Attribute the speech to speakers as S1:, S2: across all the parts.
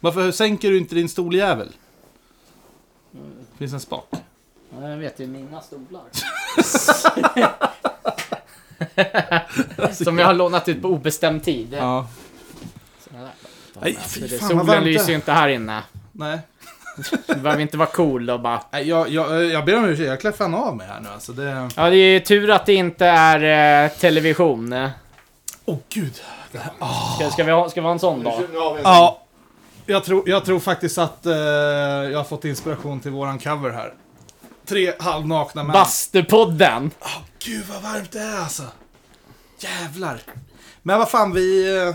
S1: Varför sänker du inte din stoljävel? Det finns en spak.
S2: Ja, Jag vet ju mina stolar. Som jag har lånat ut på obestämd tid.
S1: Ja.
S2: Sådana där.
S1: Nej,
S2: För
S1: fy
S2: det,
S1: fan vad
S2: solen
S1: varmt det
S2: lyser ju
S1: är.
S2: inte här inne.
S1: Nej.
S2: Du behöver inte vara cool och bara...
S1: Nej, jag, jag, jag ber om ursäkt. Jag klär fan av mig här nu alltså. Det...
S2: Ja, det är ju tur att det inte är eh, television.
S1: Åh gud.
S2: Ska, ska, vi ha, ska vi ha en sån dag?
S1: Ja. Jag tror, jag tror faktiskt att eh, jag har fått inspiration till våran cover här. Tre halvnakna män.
S2: Bastupodden!
S1: Åh, gud vad varmt det är alltså. Jävlar. Men vad fan, vi eh,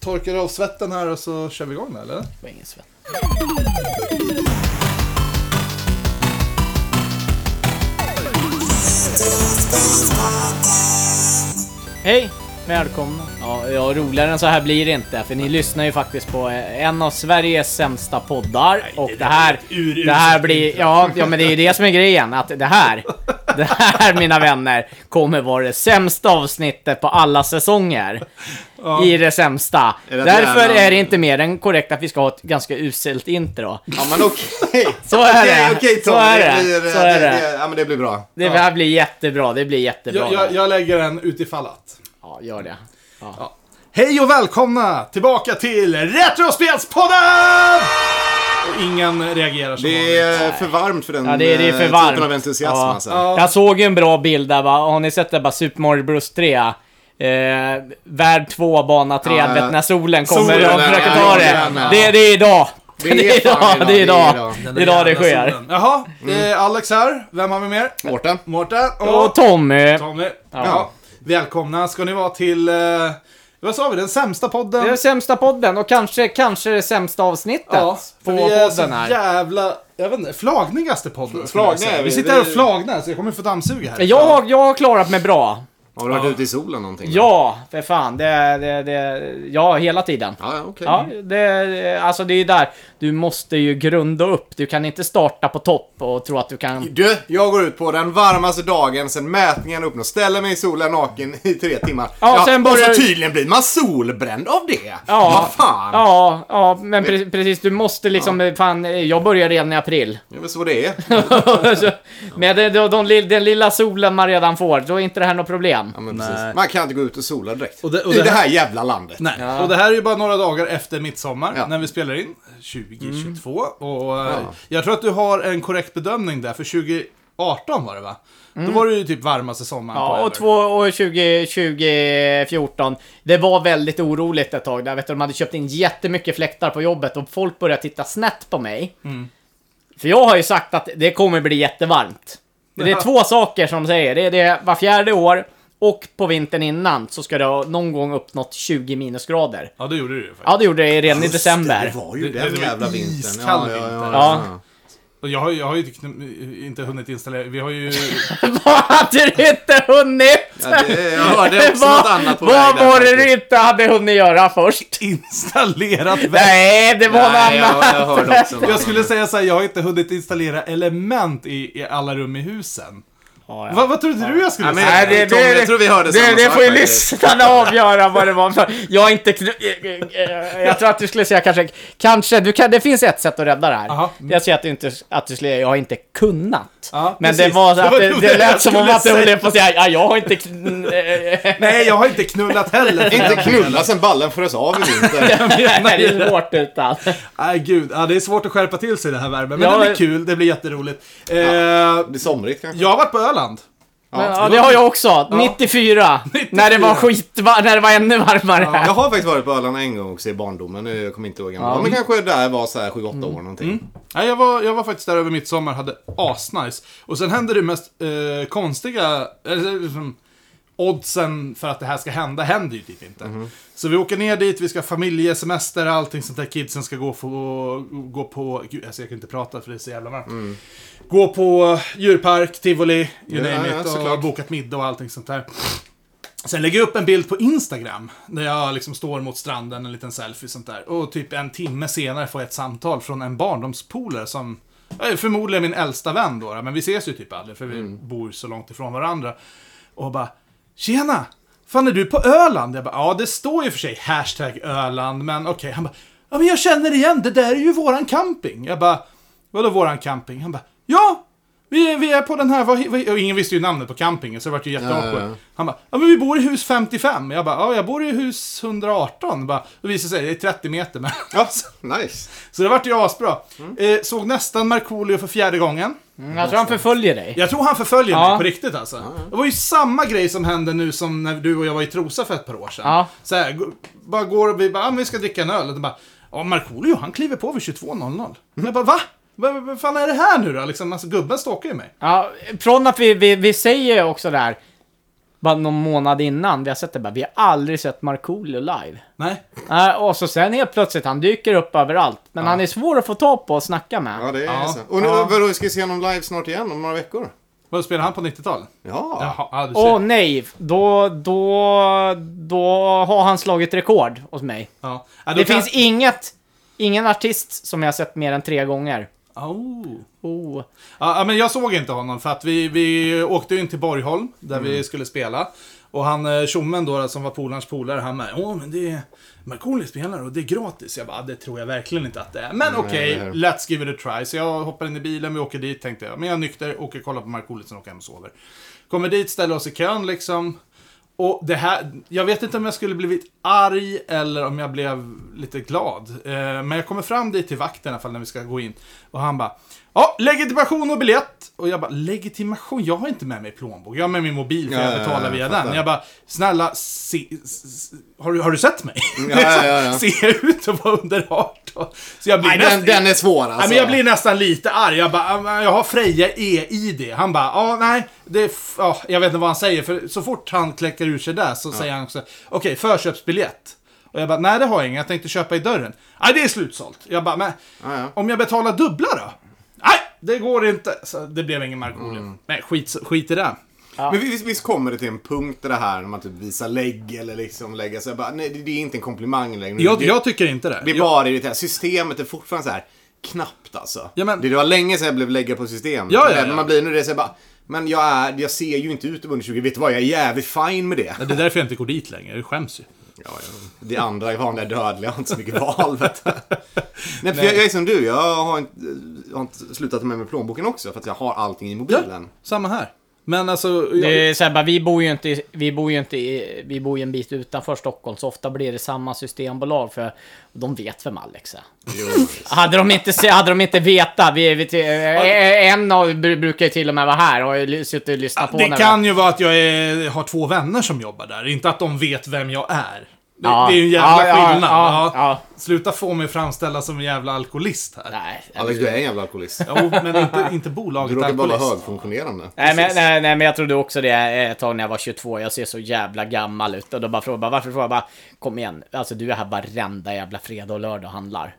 S1: torkar av svetten här och så kör vi igång eller?
S2: Det var ingen svett. Hej! Välkomna. Ja, ja, roligare än så här blir det inte, för ni lyssnar ju faktiskt på eh, en av Sveriges sämsta poddar. och det här, det här blir... Ja, ja, men det är ju det som är grejen, att det här, det här mina vänner, kommer vara det sämsta avsnittet på alla säsonger. I det sämsta.
S3: det att
S2: Därför
S3: jävla-
S2: är det inte mer än korrekt att vi ska ha ett ganska uselt intro.
S3: Ja men okej.
S2: Så är
S3: Okej,
S2: det.
S3: okej,
S2: så
S3: Tom.
S2: är det.
S3: blir,
S2: så är det.
S3: Ja men det blir bra.
S2: Det här blir jättebra. Det blir jättebra.
S1: Jag, jag, jag lägger den utifall att.
S2: Ja, gör det. Ja.
S1: Hej och välkomna tillbaka till Retrospelspodden! Och ingen reagerar som
S3: Det är för varmt för den
S2: Ja, det är- det är för
S3: eh,
S2: varmt.
S3: typen av entusiasm
S2: Ja.
S3: alltså.
S1: Ja.
S2: Jag såg ju en bra bild där va. Har ni sett det? Bara Super Mario Bros 3. Eh, värld 2, bana 3, du
S3: Ja, ja.
S2: vet när solen kommer
S1: Solen,
S2: och försöker
S1: ja,
S2: ta
S1: ja,
S2: det.
S3: den, ja.
S2: Det, det är idag.
S3: Det är fan idag,
S2: Det är
S3: det är
S2: idag.
S3: idag.
S1: Den
S2: Det
S1: där
S2: är idag det
S1: jävla
S2: sker.
S1: solen. Jaha,
S3: Mm.
S1: det är Alex här. Vem har vi mer?
S3: Mårten.
S1: Mårten och,
S2: Och Tommy.
S1: Tommy. Ja. Välkomna ska ni vara till, eh, vad sa vi, den sämsta podden?
S2: Det är den sämsta podden och kanske, kanske det sämsta avsnittet
S1: för
S2: på
S1: vi är så
S2: podden här.
S1: jävla, jag vet inte, flagnigaste podden. skulle
S3: Flagniga
S1: jag säga.
S3: är vi.
S1: Vi sitter här och
S3: Vi-
S1: flagnar så jag kommer få dammsuga här.
S2: Jag, har- jag har klarat mig bra.
S3: Har du varit ute i solen någonting?
S2: Ja, för fan. Det, det, det, ja, hela tiden.
S3: Ja, ja, okej.
S2: Ja, det, alltså det är ju där. Du måste ju grunda upp. Du kan inte starta på topp och tro att du kan...
S3: Du, jag går ut på den varmaste dagen sen mätningen uppnås. Ställer mig i solen naken i tre timmar.
S2: Ja, sen börjar-
S3: Och så tydligen blir man solbränd av det.
S2: Ja.
S3: Vad fan.
S2: Ja, ja, men pre- precis. Du måste liksom... Fan, jag börjar redan i april.
S3: Det är väl så det är.
S2: Så, men det- de, de, li- den lilla solen man redan får, då är inte det här något problem.
S3: Ja, men precis. Man kan inte gå ut och sola direkt.
S1: Och det- och
S3: I
S1: det-
S3: det här jävla landet.
S1: Nej. Och det här är ju bara några dagar efter midsommar
S3: Ja.
S1: när vi spelar in 2022.
S2: Mm.
S1: Och eh, jag tror att du har en korrekt bedömning där för 2018 var det va? Då var det ju typ varmaste sommaren på
S2: Mm. Ja, och
S1: över.
S2: två, och 20, 2014, det var väldigt oroligt ett tag där. Vet du, de hade köpt in jättemycket fläktar på jobbet och folk började titta snett på mig.
S3: Mm.
S2: För jag har ju sagt att det kommer bli jättevarmt. Det är
S1: Ja.
S2: två saker som de säger. Det är det var fjärde år och på vintern innan så ska det ha någon gång uppnått 20 minusgrader.
S1: Ja, det gjorde du ju faktiskt.
S2: Ja, det gjorde det redan i
S3: Just det,
S2: december.
S3: Det var ju
S1: Det-
S3: den
S1: det var
S3: jävla vintern.
S1: iskall
S3: Ja, ja, ja,
S1: vinter.
S3: ja.
S2: Ja.
S1: Och jag har ju, jag har ju inte, kn- inte hunnit installera, vi har ju...
S2: Vad hade du inte hunnit?
S3: Ja, det, jag hörde också något annat på
S2: vad
S3: väg där,
S2: var det
S3: faktiskt.
S2: du inte hade hunnit göra först?
S1: installerat väl.
S2: Nej, det var
S3: Nej,
S2: något
S3: jag,
S2: annat.
S3: jag hörde också något
S1: Jag skulle
S3: annat.
S1: säga såhär, jag har inte hunnit installera element i, i alla rum i husen.
S2: Ja, ja.
S1: Vad- vad trodde du jag skulle
S3: Ja, men-
S1: säga?
S2: Nej, det,
S3: Tom,
S2: det,
S3: jag tror vi hörde
S2: det,
S3: samma
S2: det
S3: sak
S2: får ju
S3: faktiskt.
S2: lyssnarna avgöra vad det var för. Jag är inte knu- eh, eh, eh, Jag tror att du skulle säga kanske, kanske, du kan, det finns ett sätt att rädda det här.
S1: Aha.
S2: Jag säger att du inte, att du skulle, jag har inte kunnat.
S1: Ja,
S2: Men det
S1: precis.
S2: var så
S1: Det
S2: att
S1: var
S2: det,
S1: nog
S2: det
S1: det
S2: lät
S1: jag
S2: som om
S1: skulle
S2: att du höll
S1: säga.
S2: på att säga, ja, jag har inte kn- eh, eh,
S1: Nej, jag har inte knullat heller.
S3: Inte knulla sen ballen fördes av i vinter.
S2: Nej, det är svårt utan.
S1: Nej, gud. Ja, det är svårt att skärpa till sig i den här värmen. Men
S2: Ja,
S1: det blir
S2: eh.
S1: kul, det blir jätteroligt. Eh,
S3: Det är somrigt kanske.
S1: Jag har varit på Öland.
S2: Ja, det har jag också. 94. När det var
S1: 94.
S2: skitvar- när det var ännu varmare.
S3: Jag har faktiskt varit på Öland en gång också i barndomen. Nu jag kommer inte ihåg gammal. Ja. Mm. Men kanske där var så här 7-8 år någonting.
S1: Nej, jag, var, jag var faktiskt där över midsommar, hade asnice. Och sen hände det mest eh, konstiga, eller liksom, oddsen för att det här ska hända, händer ju typ inte. Så vi åker ner dit, vi ska ha familjesemester, allting sånt där. Kidsen ska gå, få, gå på, gud, alltså jag kan inte prata för det är så jävla varmt. Gå på eh, djurpark, tivoli, you
S3: Mm. Ja,
S1: name
S3: ja,
S1: it, och
S3: såklart.
S1: bokat middag och allting sånt där. Sen lägger jag upp en bild på Instagram, där jag liksom står mot stranden, en liten selfie sånt där. Och typ en timme senare får jag ett samtal från en barndomspolare som eh, förmodligen min äldsta vän då, men vi ses ju typ aldrig för vi
S3: Mm.
S1: bor så långt ifrån varandra. Och bara Tjena! Fan är du på Öland? Jag bara, ja det står ju för sig hashtag Öland, men okej. Han bara, Ja men jag känner igen, det där är ju våran camping. Jag bara, vadå våran camping? Han bara, ja! Vi är, vi är på den här, vad, vad, och ingen visste ju namnet på campingen så det vart ju jätteawkward.
S3: Ja, ja, ja.
S1: Han bara, ja men vi bor i hus 55. Jag bara, ja jag bor i hus 118. Bara, det visar sig, det är 30 meter men.
S3: Ja, nice.
S1: Så det vart ju asbra.
S3: Mm.
S1: Eh, såg nästan Markoolio för fjärde gången.
S2: Mm, jag tror han förföljer dig.
S1: Jag tror han förföljer
S2: Ja.
S1: mig på riktigt alltså. Det var ju samma grej som hände nu som när du och jag var i Trosa för ett par år sedan.
S2: Ja.
S1: Så här, gå- bara går och vi bara, ah, men vi ska dricka en öl. Och de bara, ja Markoolio han kliver på vid 22.00. Jag bara, va? Vad vad- vad fan är det här nu då? Liksom, alltså gubben stalkar ju mig.
S2: Ja, från att vi, vi, vi säger också där, bara någon månad innan vi har sett det bara, vi har aldrig sett Markoolio live.
S1: Nej.
S2: Äh, och så sen helt plötsligt, han dyker upp överallt. Men han är svår att få tag på och snacka med.
S3: Ja, det är
S1: Ja.
S3: så. Och nu,
S2: Ja.
S3: vadå, ska vi se honom live snart igen om några veckor?
S1: Vad spelar han på 90-talet?
S3: Ja.
S1: Jaha, ja, du ser.
S2: Åh nej, då, då, då har han slagit rekord hos mig.
S1: ja. Ja, då
S2: Det
S1: kan-
S2: finns inget, ingen artist som jag har sett mer än tre gånger.
S1: Oh.
S2: Oh.
S1: Ja, ja, men jag såg inte honom för att vi, vi åkte ju in till Borgholm där vi skulle spela. Och han eh, tjommen då som var polarns polare, han med Åh men det är Markoolio spelar och det är gratis. Jag bara, det tror jag verkligen inte att det är. Men okej,
S3: eller hur?
S1: let's give it a try. Så jag hoppar in i bilen, vi åker dit tänkte jag. Men jag är nykter, åker och kollar på Markoolio, sen åker jag hem och sover. Kommer dit, ställer oss i kön liksom. Och det här, jag vet inte om jag skulle blivit arg eller om jag blev lite glad. Eh, men jag kommer fram dit till vakten i alla fall när vi ska gå in. Och han bara, ja, legitimation och biljett. Och jag bara, legitimation? Jag har inte med mig plånbok. Jag har med min mobil för
S3: Ja,
S1: jag
S3: ja,
S1: betalar
S3: ja,
S1: via
S3: jag
S1: den.
S3: fattar.
S1: Jag bara, snälla, se, s- s- har, du, har du sett mig?
S3: Ja, ja, ja, ja.
S1: Ser jag ut att vara under 18? Så jag blir
S3: Nej,
S1: nästan-
S3: den, den är svår alltså.
S1: Nej, men jag blir nästan lite arg. Jag bara, "Ah, men jag har Freja E-ID. Han bara, ja nej, det är f- ja, jag vet inte vad han säger. För så fort han kläcker ur sig där så säger han också, okej, förköpsbiljett. Och jag bara, nej det har jag ingen, jag tänkte köpa i dörren. Nej, det är slutsålt. Jag bara, men
S3: Ja, ja.
S1: om jag betalar dubbla då? Nej, det går inte. Så det blev ingen Markoolio.
S3: Mm.
S1: Nej, skit, skit i det.
S3: Men visst, visst kommer det till en punkt där det här när man typ visar lägg eller liksom lägga sig. Bara, nej, det, det är inte en komplimang längre.
S1: Jag,
S3: det,
S1: jag tycker inte det.
S3: det är
S1: Jag-
S3: bara irriterande. Systemet är fortfarande så här knappt alltså.
S1: Ja, men-
S3: det, det var länge sedan jag blev läggad på systemet.
S1: Ja, ja,
S3: Men
S1: ja.
S3: Man blir nu det så här bara, men jag, är, jag ser ju inte ut under 20. Vet du vad, jag är jävligt fine med det.
S1: Nej, Det är därför jag inte går dit längre, jag skäms ju.
S3: Ja, ja. Det andra är vanliga dödliga, jag har inte så mycket val. Vet du. Nej, för jag, jag är som du, jag har inte, jag har inte slutat ta med mig plånboken också för att jag har allting i mobilen.
S1: Samma här. Men alltså... jag-
S2: Det är så här, bara, vi bor ju inte, i- vi bor ju inte, i- vi bor ju en bit utanför Stockholm, så ofta blir det samma systembolag för de vet vem Alex är.
S3: Jo.
S2: Hade de inte, se- hade de inte vetat, vi, vi, eh, en av br- brukar ju till och med vara här och har ju suttit och lyssnat på
S1: Det
S2: när vi-
S1: kan ju vara att jag är, har två vänner som jobbar där, inte att de vet vem jag är. Det,
S2: Ja.
S1: det är ju en jävla
S2: Ja, ja,
S1: skillnad. Ja,
S2: ja, ja.
S1: Sluta få mig framställa som en jävla alkoholist här.
S2: Nej,
S3: Alex, du är en jävla alkoholist.
S1: Jo, men inte, inte
S3: Du
S1: bolaget
S3: råkar bara vara
S1: alkoholist.
S3: högfunktionerande.
S2: Nej men, nej, nej men jag trodde också det eh, ett tag när jag var 22, jag ser så jävla gammal ut. Och då bara frågade jag, varför frågade jag bara, kom igen, alltså du är här varenda jävla fredag och lördag och handlar.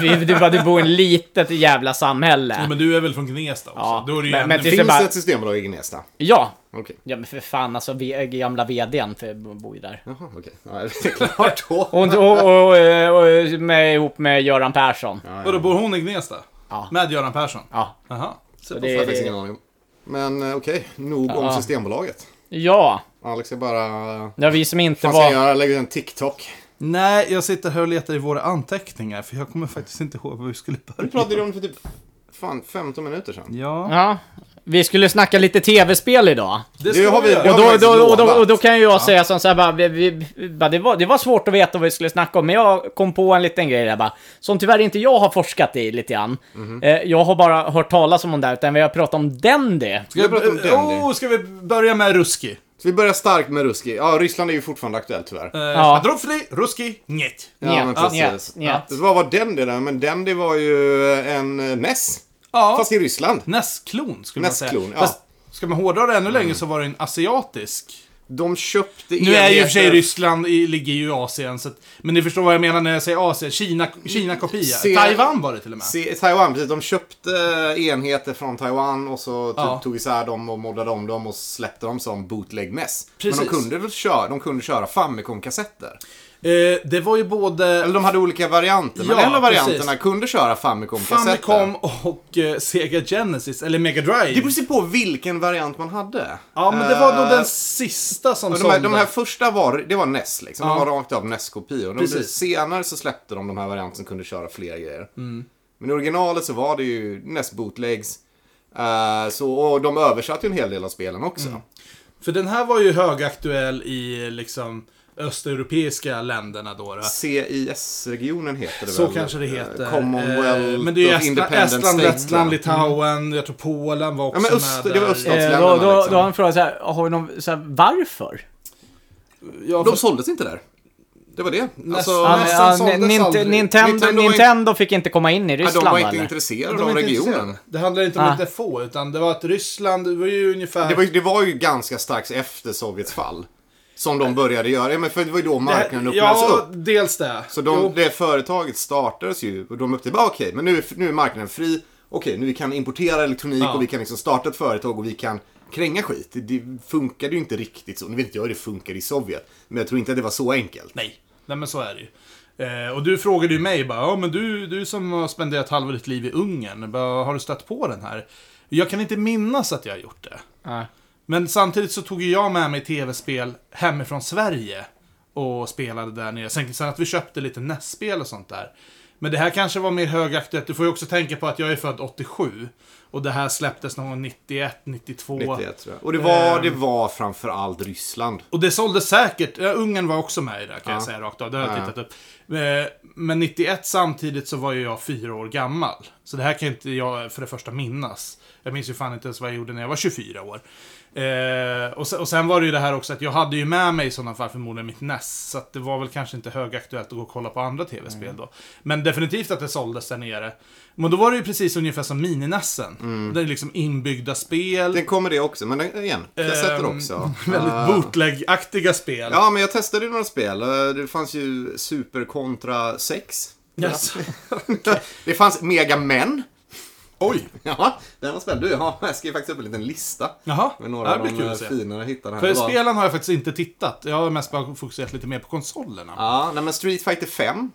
S2: Du, du, bara, du bor i ett litet jävla samhälle.
S1: Jo, men du är väl från Gnesta också?
S2: Ja,
S1: Då är det ju
S2: men-
S1: ännu
S2: men till-
S1: fler.
S3: Finns
S2: bara-
S3: det ett systembolag i Gnesta?
S2: Ja!
S3: Okej.
S2: Ja men för fan alltså, v, gamla VDn för, bor ju där.
S3: Jaha, okej. Ja, det är klart då.
S2: Och, och, och, och, eh, och med, ihop med Göran Persson.
S1: Vadå, bor hon i Gnesta?
S2: Ja.
S1: Med Göran Persson?
S2: Ja.
S1: Jaha. Så
S2: det-
S3: Jag har faktiskt ingen aning om. Men eh, okej, nog om
S2: Ja.
S3: Systembolaget.
S2: Ja,
S3: Alex är bara...
S2: det var vi som inte
S3: Vad ska jag
S2: var...
S3: göra? Lägga ut en TikTok.
S1: Nej, jag sitter här och letar i våra anteckningar, för jag kommer faktiskt inte ihåg var vi skulle
S3: Vi
S1: börja.
S3: pratade om det för typ fan, 15 minuter sedan.
S1: Ja,
S2: Ja, vi skulle snacka lite tv-spel idag.
S1: det
S3: har vi-
S1: göra.
S2: Och då,
S3: faktiskt
S2: då, och, då,
S3: lovat.
S2: och då kan ju jag säga som så här, bara, vi, vi, vi- bara, det, var, det var svårt att veta vad vi skulle snacka om, men jag kom på en liten grej där bara, som tyvärr inte jag har forskat i lite grann.
S3: Mhm.
S2: Eh, jag har bara hört talas om hon där, utan vi har pratat om den det. Eh,
S3: Ska vi prata om den?
S1: oh, ska vi börja med Ruski?
S3: Så vi börjar starkt med Ruski. Ja, Ryssland är ju fortfarande aktuellt tyvärr.
S1: Eh,
S2: Ja.
S1: Padrovfri, Ruski, Njet.
S3: Ja, men
S2: Njet, njet,
S3: precis.
S2: njet.
S3: Så vad var Dendy då? Men Dendy var ju en eh, NES.
S1: Ja.
S3: Fast i Ryssland.
S1: NES-klon skulle man säga.
S3: NES-klon, ja.
S1: Fast ska man hårdra det ännu längre så var det en asiatisk.
S3: De köpte
S1: Nu är ju i och för sig
S3: enheter-
S1: Ryssland i, ligger ju i Asien, så att, men ni förstår vad jag menar när jag säger Asien. Kina, Kina-kopia.
S3: Se-
S1: Taiwan var det till och med.
S3: Se- Taiwan, precis. De köpte eh, enheter från Taiwan och så typ
S1: Ja.
S3: tog isär dem och moddade om dem och släppte dem som bootleg mess. Men
S1: Precis.
S3: de kunde väl köra, de kunde köra Famicom-kassetter.
S1: Eh, det var ju både...
S3: Eller de hade olika varianter, men
S1: Ja,
S3: en av varianterna
S1: precis.
S3: kunde köra Famicom-kassetter.
S1: Famicom och eh, Sega Genesis, eller Mega Drive.
S3: Det beror sig på vilken variant man hade.
S1: Ja, men det var nog
S3: Eh,
S1: den sista som
S3: och de, här, de här
S1: sålde.
S3: första var, det var NES liksom.
S1: Ja.
S3: De var rakt av NES-kopior. De-
S1: Precis.
S3: Senare så släppte de de här varianterna som kunde köra fler grejer.
S1: Mm.
S3: Men i originalet så var det ju NES bootlegs. Eh, så, och de översatte ju en hel del av spelen också.
S1: Mm. För den här var ju högaktuell i liksom östeuropeiska länderna då. då.
S3: CIS-regionen heter det
S1: Så
S3: väl?
S1: kanske det
S3: Eh,
S1: heter.
S3: Commonwealth
S1: Eh, Men det är ju
S3: of
S1: Estland,
S3: Independent
S1: Estland
S3: States,
S1: Lettland,
S3: va?
S1: Litauen, jag tror Polen var också
S3: Ja, men öst,
S1: med
S3: det var
S1: där.
S3: öststaterna.
S2: Eh, då, då,
S3: liksom.
S2: då har en fråga så här, har vi någon, så här, varför?
S1: Ja,
S3: De
S1: fast-
S3: såldes inte där. Det var det. Alltså,
S2: Ja, men,
S3: nästan
S2: ja,
S3: såldes
S2: Nint- Nintendo,
S3: aldrig.
S2: Nintendo,
S3: var inte-
S2: fick inte komma in i
S3: Ja,
S2: Ryssland
S3: de var
S2: va,
S3: inte
S2: eller?
S1: de
S3: intresserade
S1: var
S3: av
S1: inte
S3: regionen.
S1: intresserade. Det handlade inte om
S2: Ah.
S1: att det få, utan det var att Ryssland, det var ju ungefär...
S3: Det var, ju- det var ju ganska strax efter Sovjets fall. Som de började göra. Ja, men för det var ju då marknaden
S1: Det-
S3: öppnades
S1: Ja,
S3: upp.
S1: dels det.
S3: Så de,
S1: Jo,
S3: det företaget startades ju och de upptäckte bara okej, men nu, är- nu är marknaden fri. Okej, nu vi kan importera elektronik
S1: Ja.
S3: och vi kan liksom starta ett företag och vi kan kränga skit. Det, det funkade ju inte riktigt så. Nu vet inte jag hur det funkar i Sovjet, men jag tror inte att det var så enkelt.
S1: Nej. Nej, men så är det ju. Eh, och du frågade ju mig bara, ja men du, du som har spenderat halva ditt liv i Ungern, bara, har du stött på den här? Jag kan inte minnas att jag har gjort det.
S2: Ja.
S1: Men samtidigt så tog ju jag med mig tv-spel hemifrån Sverige och spelade där nere. Sen, sen att vi köpte lite NES-spel och sånt där. Men det här kanske var mer högaktuellt. Du får ju också tänka på att jag är född 87. Och det här släpptes någon gång 91, 92.
S3: 91, tror jag. Och det var, det var framförallt Ryssland.
S1: Och det sålde säkert, ja, Ungern var också med i det kan
S3: Ja.
S1: jag säga rakt av, det har jag
S3: Ja.
S1: tittat upp. Eh, Men 91 samtidigt så var ju jag fyra år gammal. Så det här kan inte jag för det första minnas. Jag minns ju fan inte ens vad jag gjorde när jag var 24 år. Eh, och, sen, och sen var det ju det här också att jag hade ju med mig i sådana fall förmodligen mitt NES. Så att det var väl kanske inte högaktuellt att gå och kolla på andra tv-spel
S3: Mm.
S1: då. Men definitivt att det såldes där nere. Men då var det ju precis ungefär som mininessen. Det är liksom inbyggda spel.
S3: Den kommer Mm. det också, men den- igen, kassetter
S1: Ehm,
S3: också.
S1: Väldigt
S3: Eh,
S1: bootleg-aktiga spel.
S3: Ja, men jag testade ju några spel. Eh, Det fanns ju Super Contra 6.
S1: Yes.
S3: Det fanns Mega Men.
S1: Oj!
S3: Ja, den var spännande. Du, ja, jag skrev faktiskt upp en liten lista.
S1: Jaha,
S3: Med några
S1: det
S3: av
S1: blir kul
S3: de eh,
S1: att se.
S3: finare jag hittade här.
S1: För
S3: Det var-
S1: spelen har jag faktiskt inte tittat. Jag har mest bara fokuserat lite mer på konsolerna.
S3: Ja, nej, men Street Fighter 5.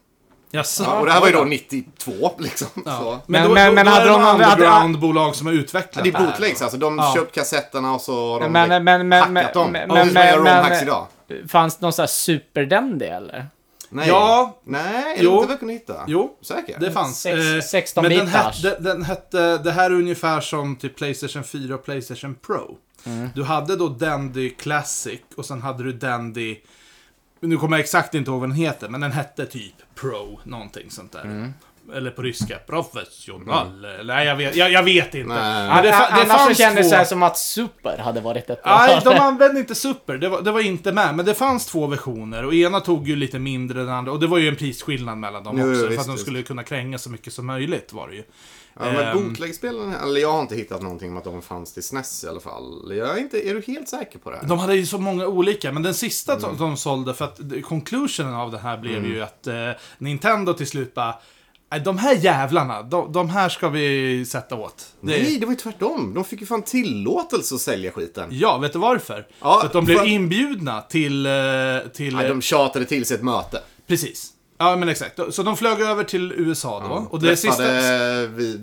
S1: Jaså?
S3: Ja, och det här var ju då
S1: Ja.
S3: 92, liksom.
S1: Ja.
S3: Så.
S1: Men,
S2: Men-
S1: då,
S2: men-
S1: då,
S2: men
S1: då
S2: hade
S1: är det
S2: de-
S1: några
S2: hade-
S1: undergroundbolag som har utvecklat
S3: Det är
S1: här.
S3: bootlegs alltså. De
S1: Ja.
S3: köpt kassetterna och så har de
S2: Men- men- men- men-
S3: hackat dem.
S2: men-
S3: Ja, det är som
S2: men-
S3: jag gör
S2: men-
S3: romhacks idag.
S2: Fanns det någon sån här superdendy eller?
S3: Nej.
S1: Ja.
S3: Nej, är det
S1: Jo.
S3: inte vad jag kunde hitta?
S1: Jo,
S3: Säkert?
S1: det fanns.
S2: Sex-
S1: Eh,
S2: 16
S1: men den
S2: bitars.
S1: hette, den hette, det här är ungefär som till Playstation 4 och Playstation Pro. Du hade då Dandy Classic och sen hade du Dandy... Nu kommer jag exakt inte ihåg vad den heter, men den hette typ Pro, någonting sånt där. Eller på ryska, professional. Nej, jag vet, jag, jag vet inte.
S3: Nej.
S1: Men det, fa- det
S2: Annars så
S1: fanns
S2: kändes
S1: två...
S2: det så här som att Super hade varit ett
S1: Nej, de använde inte Super. Det var, det var inte med. Men det fanns två versioner. Och ena tog ju lite mindre än den andra. Och det var ju en prisskillnad mellan dem
S3: Jo,
S1: också.
S3: jo,
S1: för
S3: visst,
S1: att de
S3: visst.
S1: skulle kunna kränga så mycket som möjligt var det ju.
S3: Ja, men
S1: Ehm.
S3: bootlegspelen, eller jag har inte hittat någonting om att de fanns till SNES i alla fall. Jag är inte, är du helt säker på det? här?
S1: De hade ju så många olika, men den sista
S3: Mm.
S1: de, de sålde, för att eh, conclusionen av det här blev ju att eh, Nintendo till slut bara "Nej, de här jävlarna, de, de här ska vi sätta åt. Det-
S3: Nej, det var ju tvärtom. De fick ju fan tillåtelse att sälja skiten.
S1: Ja, vet du varför?
S3: Ja,
S1: för att de blev
S3: för-
S1: inbjudna till... eh, till eh,
S3: Nej, de tjatade till sig ett möte.
S1: Precis. Ja, men exakt. Så de flög över till USA då. och det
S3: Träffade
S1: sista...
S3: vi,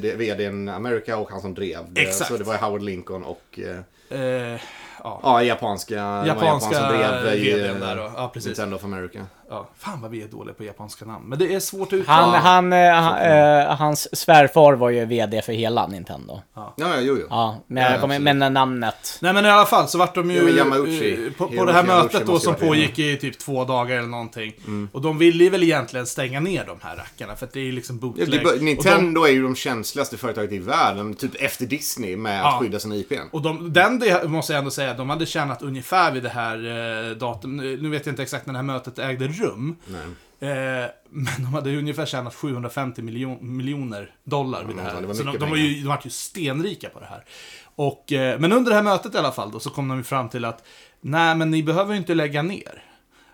S3: vi, vdn America och han som drev. det.
S1: Exakt.
S3: Så det var Howard Lincoln och eh,
S1: Eh, ja.
S3: ja, japanska, japanska
S1: Japanska
S3: som drev i, eh,
S1: VDn där då. Ja, precis.
S3: Nintendo of America.
S1: ja. Fan vad vi är dåliga på japanska namn. Men det är svårt att
S2: Han,
S1: uttala.
S2: han, eh, han, eh, hans svärfar var ju VD för hela Nintendo.
S3: Ja, ja, jo, jo.
S2: Ja, men,
S3: Ja,
S2: jag kommer,
S3: absolut.
S2: men namnet.
S1: Nej men i alla fall så vart de
S3: Ja,
S1: ju
S3: men Yamauchi.
S1: eh, på, på
S3: Yamauchi
S1: det här
S3: måste
S1: mötet
S3: ju
S1: då som
S3: vara Mm. det.
S1: pågick i typ två dagar eller någonting. Och de ville ju väl egentligen stänga ner de här rackarna för att det är ju liksom
S3: Ja,
S1: bootleg.
S3: det, är bara-
S1: Och de-
S3: Nintendo är ju de känsligaste företaget i världen, typ efter Disney, med
S1: Ja.
S3: att skydda sina IPn.
S1: Och de, den det måste jag ändå säga, de hade tjänat ungefär vid det här eh, datum. Nu nu vet jag inte exakt när det här mötet ägde rum. Eh, men de hade ungefär tjänat 750 miljon, miljoner dollar vid det här.
S3: någonstans, det var
S1: så de,
S3: mycket
S1: de, var ju, de var ju stenrika på det här. Och, eh, men under det här mötet i alla fall då, så kom de ju fram till att nej, men ni behöver ju inte lägga ner.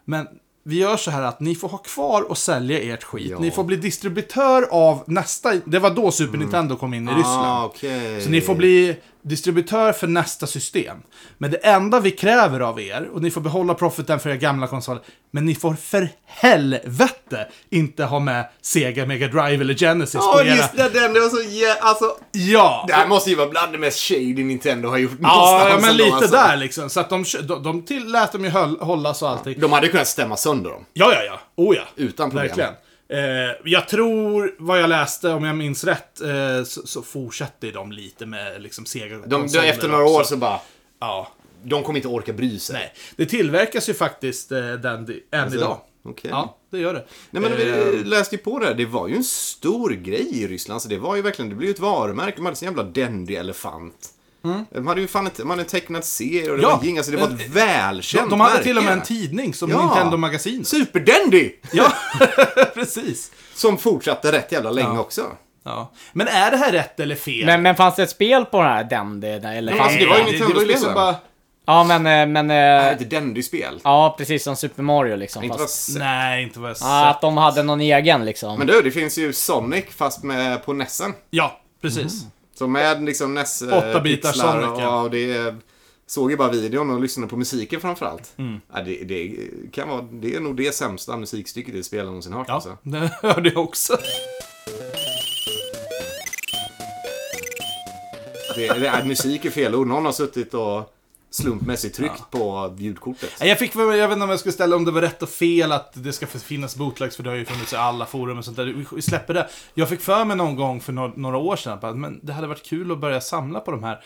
S1: Men vi gör så här att ni får ha kvar och sälja ert skit.
S3: Ja.
S1: Ni får bli
S3: Mm. Ah,
S1: distributör av nästa... Det var då Super Nintendo kom in i Ryssland.
S3: okej.
S1: Så ni får bli distributör för nästa system. Men det enda vi kräver av er, och ni får behålla profiten för era gamla konsoler, men ni får för helvete inte ha med Sega Mega Drive eller Genesis
S3: Ja,
S1: på era...
S3: just det. Den, det var så jä- Alltså,
S1: Ja!
S3: det här måste ju vara bland det mest shady Nintendo har gjort
S1: Ja,
S3: någonstans
S1: ja, men
S3: ändå,
S1: lite
S3: alltså.
S1: där liksom. Så att de, kö- de, de till, lät dem ju höll, hållas och allting.
S3: De hade kunnat stämma sönder dem.
S1: Ja, ja, ja. Oh ja.
S3: Utan problem.
S1: Verkligen. Eh, jag tror, vad jag läste, om jag minns rätt, eh, så, så fortsätter de lite med liksom Sega.
S3: De, de, efter några år så bara...
S1: Ja.
S3: De kommer inte orka bry sig.
S1: Nej. Det tillverkas ju faktiskt eh, den di- än idag.
S3: Alltså, okej.
S1: Ja, det gör det.
S3: Nej men
S1: Eh,
S3: vi läste ju på det här. det var ju en stor grej i Ryssland. Så det var ju verkligen, det blev ju ett varumärke. De hade sin jävla dendig elefant. De hade ju fan ett, man hade en tecknad serie och
S1: Mm.
S3: det
S1: Ja. Eh,
S3: var ging, alltså det var ett välkänt
S1: de, de hade till och med
S3: märke.
S1: en tidning som
S3: Ja.
S1: Nintendo Magasin.
S3: Superdendy!
S1: Ja, precis.
S3: Som fortsatte rätt jävla länge också.
S1: Ja. Men är det här rätt eller fel?
S2: Men, men fanns det ett spel på den här Dendy? Eller?
S3: Nej. Alltså, det var ju Nintendo-spelen.
S1: liksom
S2: Ja, men... eh, men
S3: Det är
S2: eh,
S3: ett Dendy-spel.
S2: ja, precis som Super Mario liksom.
S3: Inte vad
S2: Fast,
S3: s-
S1: Nej, inte vad jag
S2: ja,
S1: sett.
S2: att de hade någon egen liksom.
S3: Men du, det finns ju Sonic fast med på Nessen.
S1: Ja, precis.
S3: Så med liksom Ness... eh,
S1: Åtta bitar
S3: pixlar
S1: Sonic,
S3: och,
S1: ja.
S3: ja. och det är, Såg ju bara videon och lyssnade på musiken framförallt.
S1: Mm.
S3: Ja, det, det, kan vara, det är nog det sämsta musikstycket i ett spel jag någonsin hört.
S1: Ja,
S3: Alltså.
S1: det hörde jag också.
S3: Det, det, är- musik är fel ord. Någon har suttit och slumpmässigt tryckt på ljudkortet.
S1: Nej, Jag fick väl- jag vet inte om jag skulle ställa om det var rätt och fel att det ska finnas bootlegs, för det har ju funnits i alla forum och sånt där. Vi- Vi släpper det. Jag fick för mig någon gång för några, några år sedan att men det hade varit kul att börja samla på de här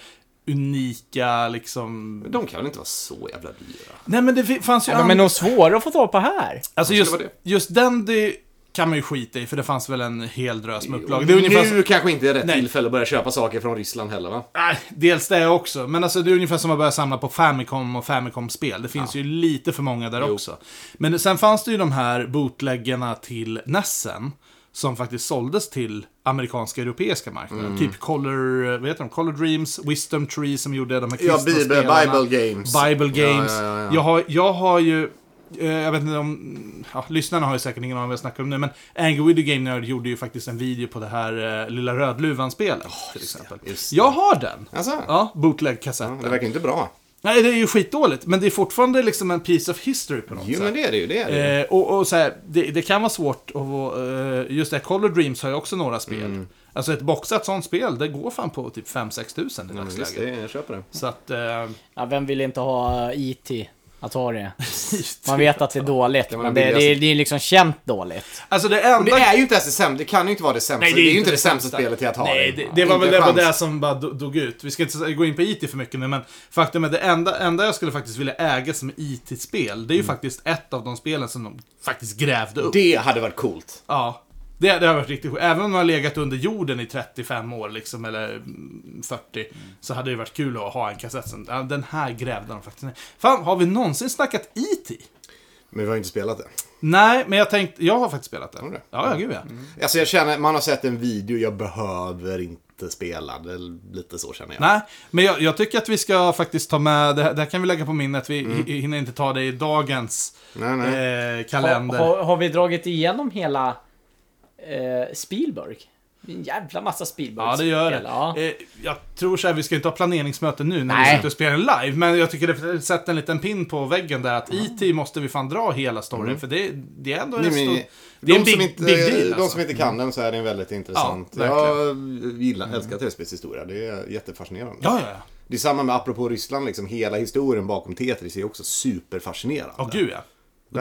S1: unika liksom...
S3: De kan väl inte vara så jävla dyra?
S1: Nej men det fi- fanns ju...
S2: Ja, de är
S1: an-
S2: nog svåra att få tag på här.
S1: Alltså
S3: skulle
S1: just,
S3: vara det.
S1: just den det kan man ju skita i, för det fanns väl en hel drös med upplagor. Det är ungefär...
S3: Nu kanske inte är rätt
S1: Nej.
S3: tillfälle att börja köpa saker från Ryssland heller va?
S1: Nej, dels det också. Men alltså det är ungefär som att börja samla på Famicom och Famicom-spel. Det finns ju lite för många där också. Men sen fanns det ju de här bootleggarna till Nessen. Som faktiskt såldes till amerikanska och europeiska marknaden.
S3: Mm.
S1: Typ Color, vad heter de? Color Dreams, Wisdom Tree som gjorde de här
S3: Ja,
S1: kristna
S3: Bible,
S1: spelarna.
S3: Bible Games.
S1: Bible Games.
S3: Ja, ja, ja, ja.
S1: Jag, har, jag har ju... eh, Jag vet inte om... Ja, lyssnarna har ju säkert ingen aning om vad jag snackar om nu, men Angry Video Game Nerd gjorde ju faktiskt en video på det här eh, Lilla Rödluvan-spelet. till exempel.
S3: just det.
S1: Jag har den!
S3: Alltså,
S1: Ja,
S3: det
S1: bootleg-kassetten.
S3: verkar inte bra.
S1: Nej, det är ju skitdåligt, men det är fortfarande liksom en piece of history på något
S3: Jo
S1: sätt.
S3: men det är det ju, det är det ju.
S1: Eh, och och så här, det, det kan vara svårt att... vara, eh, just det, här, Color Dreams har ju också några spel.
S3: Mm.
S1: Alltså ett boxat sånt spel, det går fan på typ 5-6 tusen i
S3: Ja, men visst,
S1: dagsläget.
S3: det, jag köper det.
S1: Så att... Eh,
S2: Ja, vem vill inte ha IT? Att ha det. Man vet att det är dåligt,
S3: Det var
S2: men
S3: den
S2: det, det, är-
S3: billigaste.
S2: det är liksom känt dåligt.
S1: alltså det enda...
S3: Det är ju inte ens det sämsta, det kan ju inte vara det sämsta. det, är ju inte det sämsta spelet till att ha
S1: Nej, det, det
S3: Inte
S1: var väl det, var
S3: chans.
S1: det som bara do- dog ut. Vi ska inte gå in på IT för mycket nu, men faktum är det enda, enda jag skulle faktiskt vilja äga som IT-spel, det är ju faktiskt ett av de spelen som de faktiskt grävde upp.
S3: Mm. Det hade varit coolt.
S1: Ja. Det, det har varit riktigt sjukt. Även om man har legat under jorden i 35 år, liksom, eller mm, 40, så hade det varit kul att ha en kassett som, ja, den här grävde de faktiskt ner. Fan, har vi någonsin snackat IT?
S3: Men vi har ju inte spelat det.
S1: Nej, men jag tänkte, jag har faktiskt spelat den.
S3: du det?
S1: Ja, ja, gud ja.
S3: Alltså jag känner, man har sett en video, jag behöver inte spela. Det är lite så känner jag.
S1: Nej, men jag, jag tycker att vi ska faktiskt ta med, det här, det här kan vi lägga på minnet, vi hi- hinner inte ta det i dagens
S3: Mm. Nej, nej.
S1: eh,
S2: Har,
S1: kalender.
S2: har, har vi dragit igenom hela eh, Spielberg? En jävla massa Spielberg.
S1: Ja, det gör det.
S2: Ja.
S1: Eh, jag tror så här, vi ska inte ha planeringsmöte nu när vi
S2: Nej.
S1: sitter och spelar live, men jag tycker det sätter en liten pin på väggen där att IT måste vi fan dra hela storyn, för det, det är ändå en
S3: Mm. Nej, men-
S1: stor... Det är en
S3: de som
S1: big,
S3: inte,
S1: big deal
S3: De
S1: alltså.
S3: som inte kan den så är den väldigt intressant.
S1: Ja, Mm.
S3: jag gillar, älskar Tetris historia. Det är jättefascinerande.
S1: Ja, ja, ja.
S3: Det är samma med, apropå Ryssland, liksom, hela historien bakom Tetris är också superfascinerande.
S1: Ja, gud ja.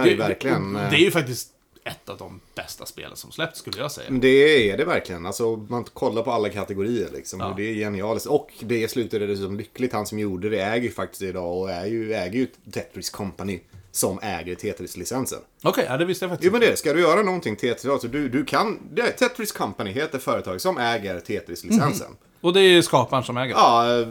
S3: Det är verkligen,
S1: och
S3: eh,
S1: det är ju faktiskt ett av de bästa spelen som släppts, skulle jag säga.
S3: Men Det är det verkligen. Alltså, man kollar på alla kategorier liksom.
S1: Ja.
S3: Och det är genialiskt. Och det slutade dessutom lyckligt. Han som gjorde det äger ju faktiskt idag och är ju, äger ju Tetris Company som äger Tetris-licensen.
S1: Okej, ja, det visste jag faktiskt
S3: Jo men det, ska du göra någonting Tetris, alltså du, du kan... Det är Tetris Company heter företaget som äger Tetris-licensen.
S1: Och det är ju skaparen som äger det.
S3: Ja, eh,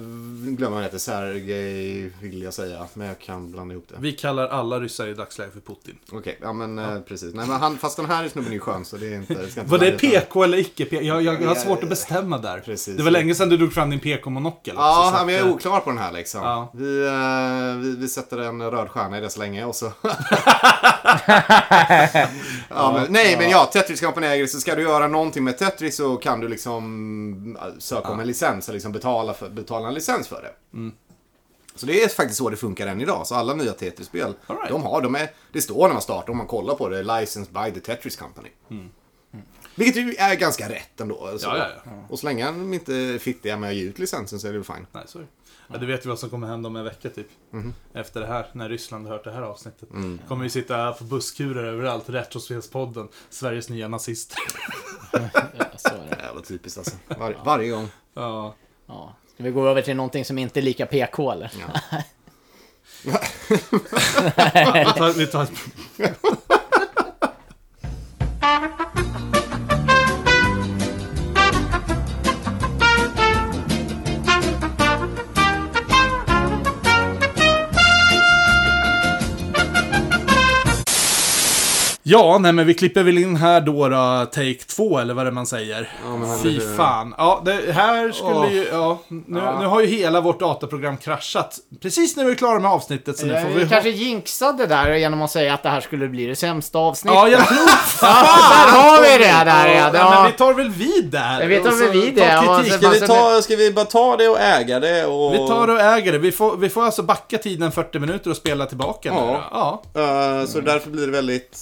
S3: glömmer han heter Sergej, vill jag säga. Men jag kan blanda ihop det.
S1: Vi kallar alla ryssar i dagsläget för Putin.
S3: Okej, ja men eh, precis. Nej, men han, fast den här snubben är ju skön så det är inte... jag Ska inte
S1: Var det
S3: blanda ihop dem.
S1: PK eller icke PK? Jag, jag, jag har svårt att bestämma där.
S3: Precis.
S1: Det var länge sedan du drog fram din PK-monokel. också,
S3: Ja,
S1: så att,
S3: men jag är
S1: eh,
S3: oklar på den här liksom.
S1: Ja.
S3: Vi, eh, vi, vi sätter en röd stjärna i det så länge och så... ja, men, nej, men ja, Tetris Company äger det, så ska du göra någonting med Tetris så kan du liksom eh, söka om fram en licens och liksom betala, för, betala en licens för det.
S1: Mm.
S3: Så det är faktiskt så det funkar än idag. Så alla nya Tetris-spel,
S1: All right.
S3: de har, de är, det står när man startar, om man kollar på det, Licensed by the Tetris Company. Vilket ju är ganska rätt ändå. Alltså.
S1: Ja, ja, ja.
S3: Och så länge de inte är fittiga med att ge ut licensen så är det väl fine.
S1: Nej, sorry. Ja, du vet ju vad som kommer hända om en vecka typ.
S3: Mhm.
S1: Efter det här, när Ryssland har hört det här avsnittet.
S3: Mm.
S1: Kommer vi sitta på busskurer överallt, Retrospelspodden, Sveriges nya nazister.
S2: Ja, så är det.
S3: Jävla typiskt alltså. Var, varje gång.
S1: ja.
S2: Ja. Ska vi gå över till någonting som inte är lika PK eller?
S1: Vi tar, vi tar ett... Ja, nej men vi klipper väl in här då, då take 2 eller vad det är man säger.
S3: men
S1: Fy
S3: eller hur?
S1: fan. Ja, det här skulle
S3: Åh.
S1: ju, ja, nu, nu har ju hela vårt dataprogram kraschat. Precis när vi är klara med avsnittet så nu får vi...
S2: Eh, Vi
S1: ha-
S2: kanske jinxade där genom att säga att det här skulle bli det sämsta avsnittet.
S1: Ja, jag tror
S2: där har vi det! Där ja, det
S1: men
S2: var...
S1: vi tar väl vid där.
S2: Jag vet
S1: och
S2: om
S1: så
S2: vi vid
S1: tar
S2: det, och
S1: kritik.
S2: sen- Ska vi ta-
S3: bara ta det och äga det och...
S1: Alltså, Vi tar och äger det. Vi får, vi får alltså backa tiden 40 minuter och spela tillbaka
S3: Ja.
S1: nu då. ja.
S3: Eh,
S2: Mm.
S3: så därför blir det väldigt...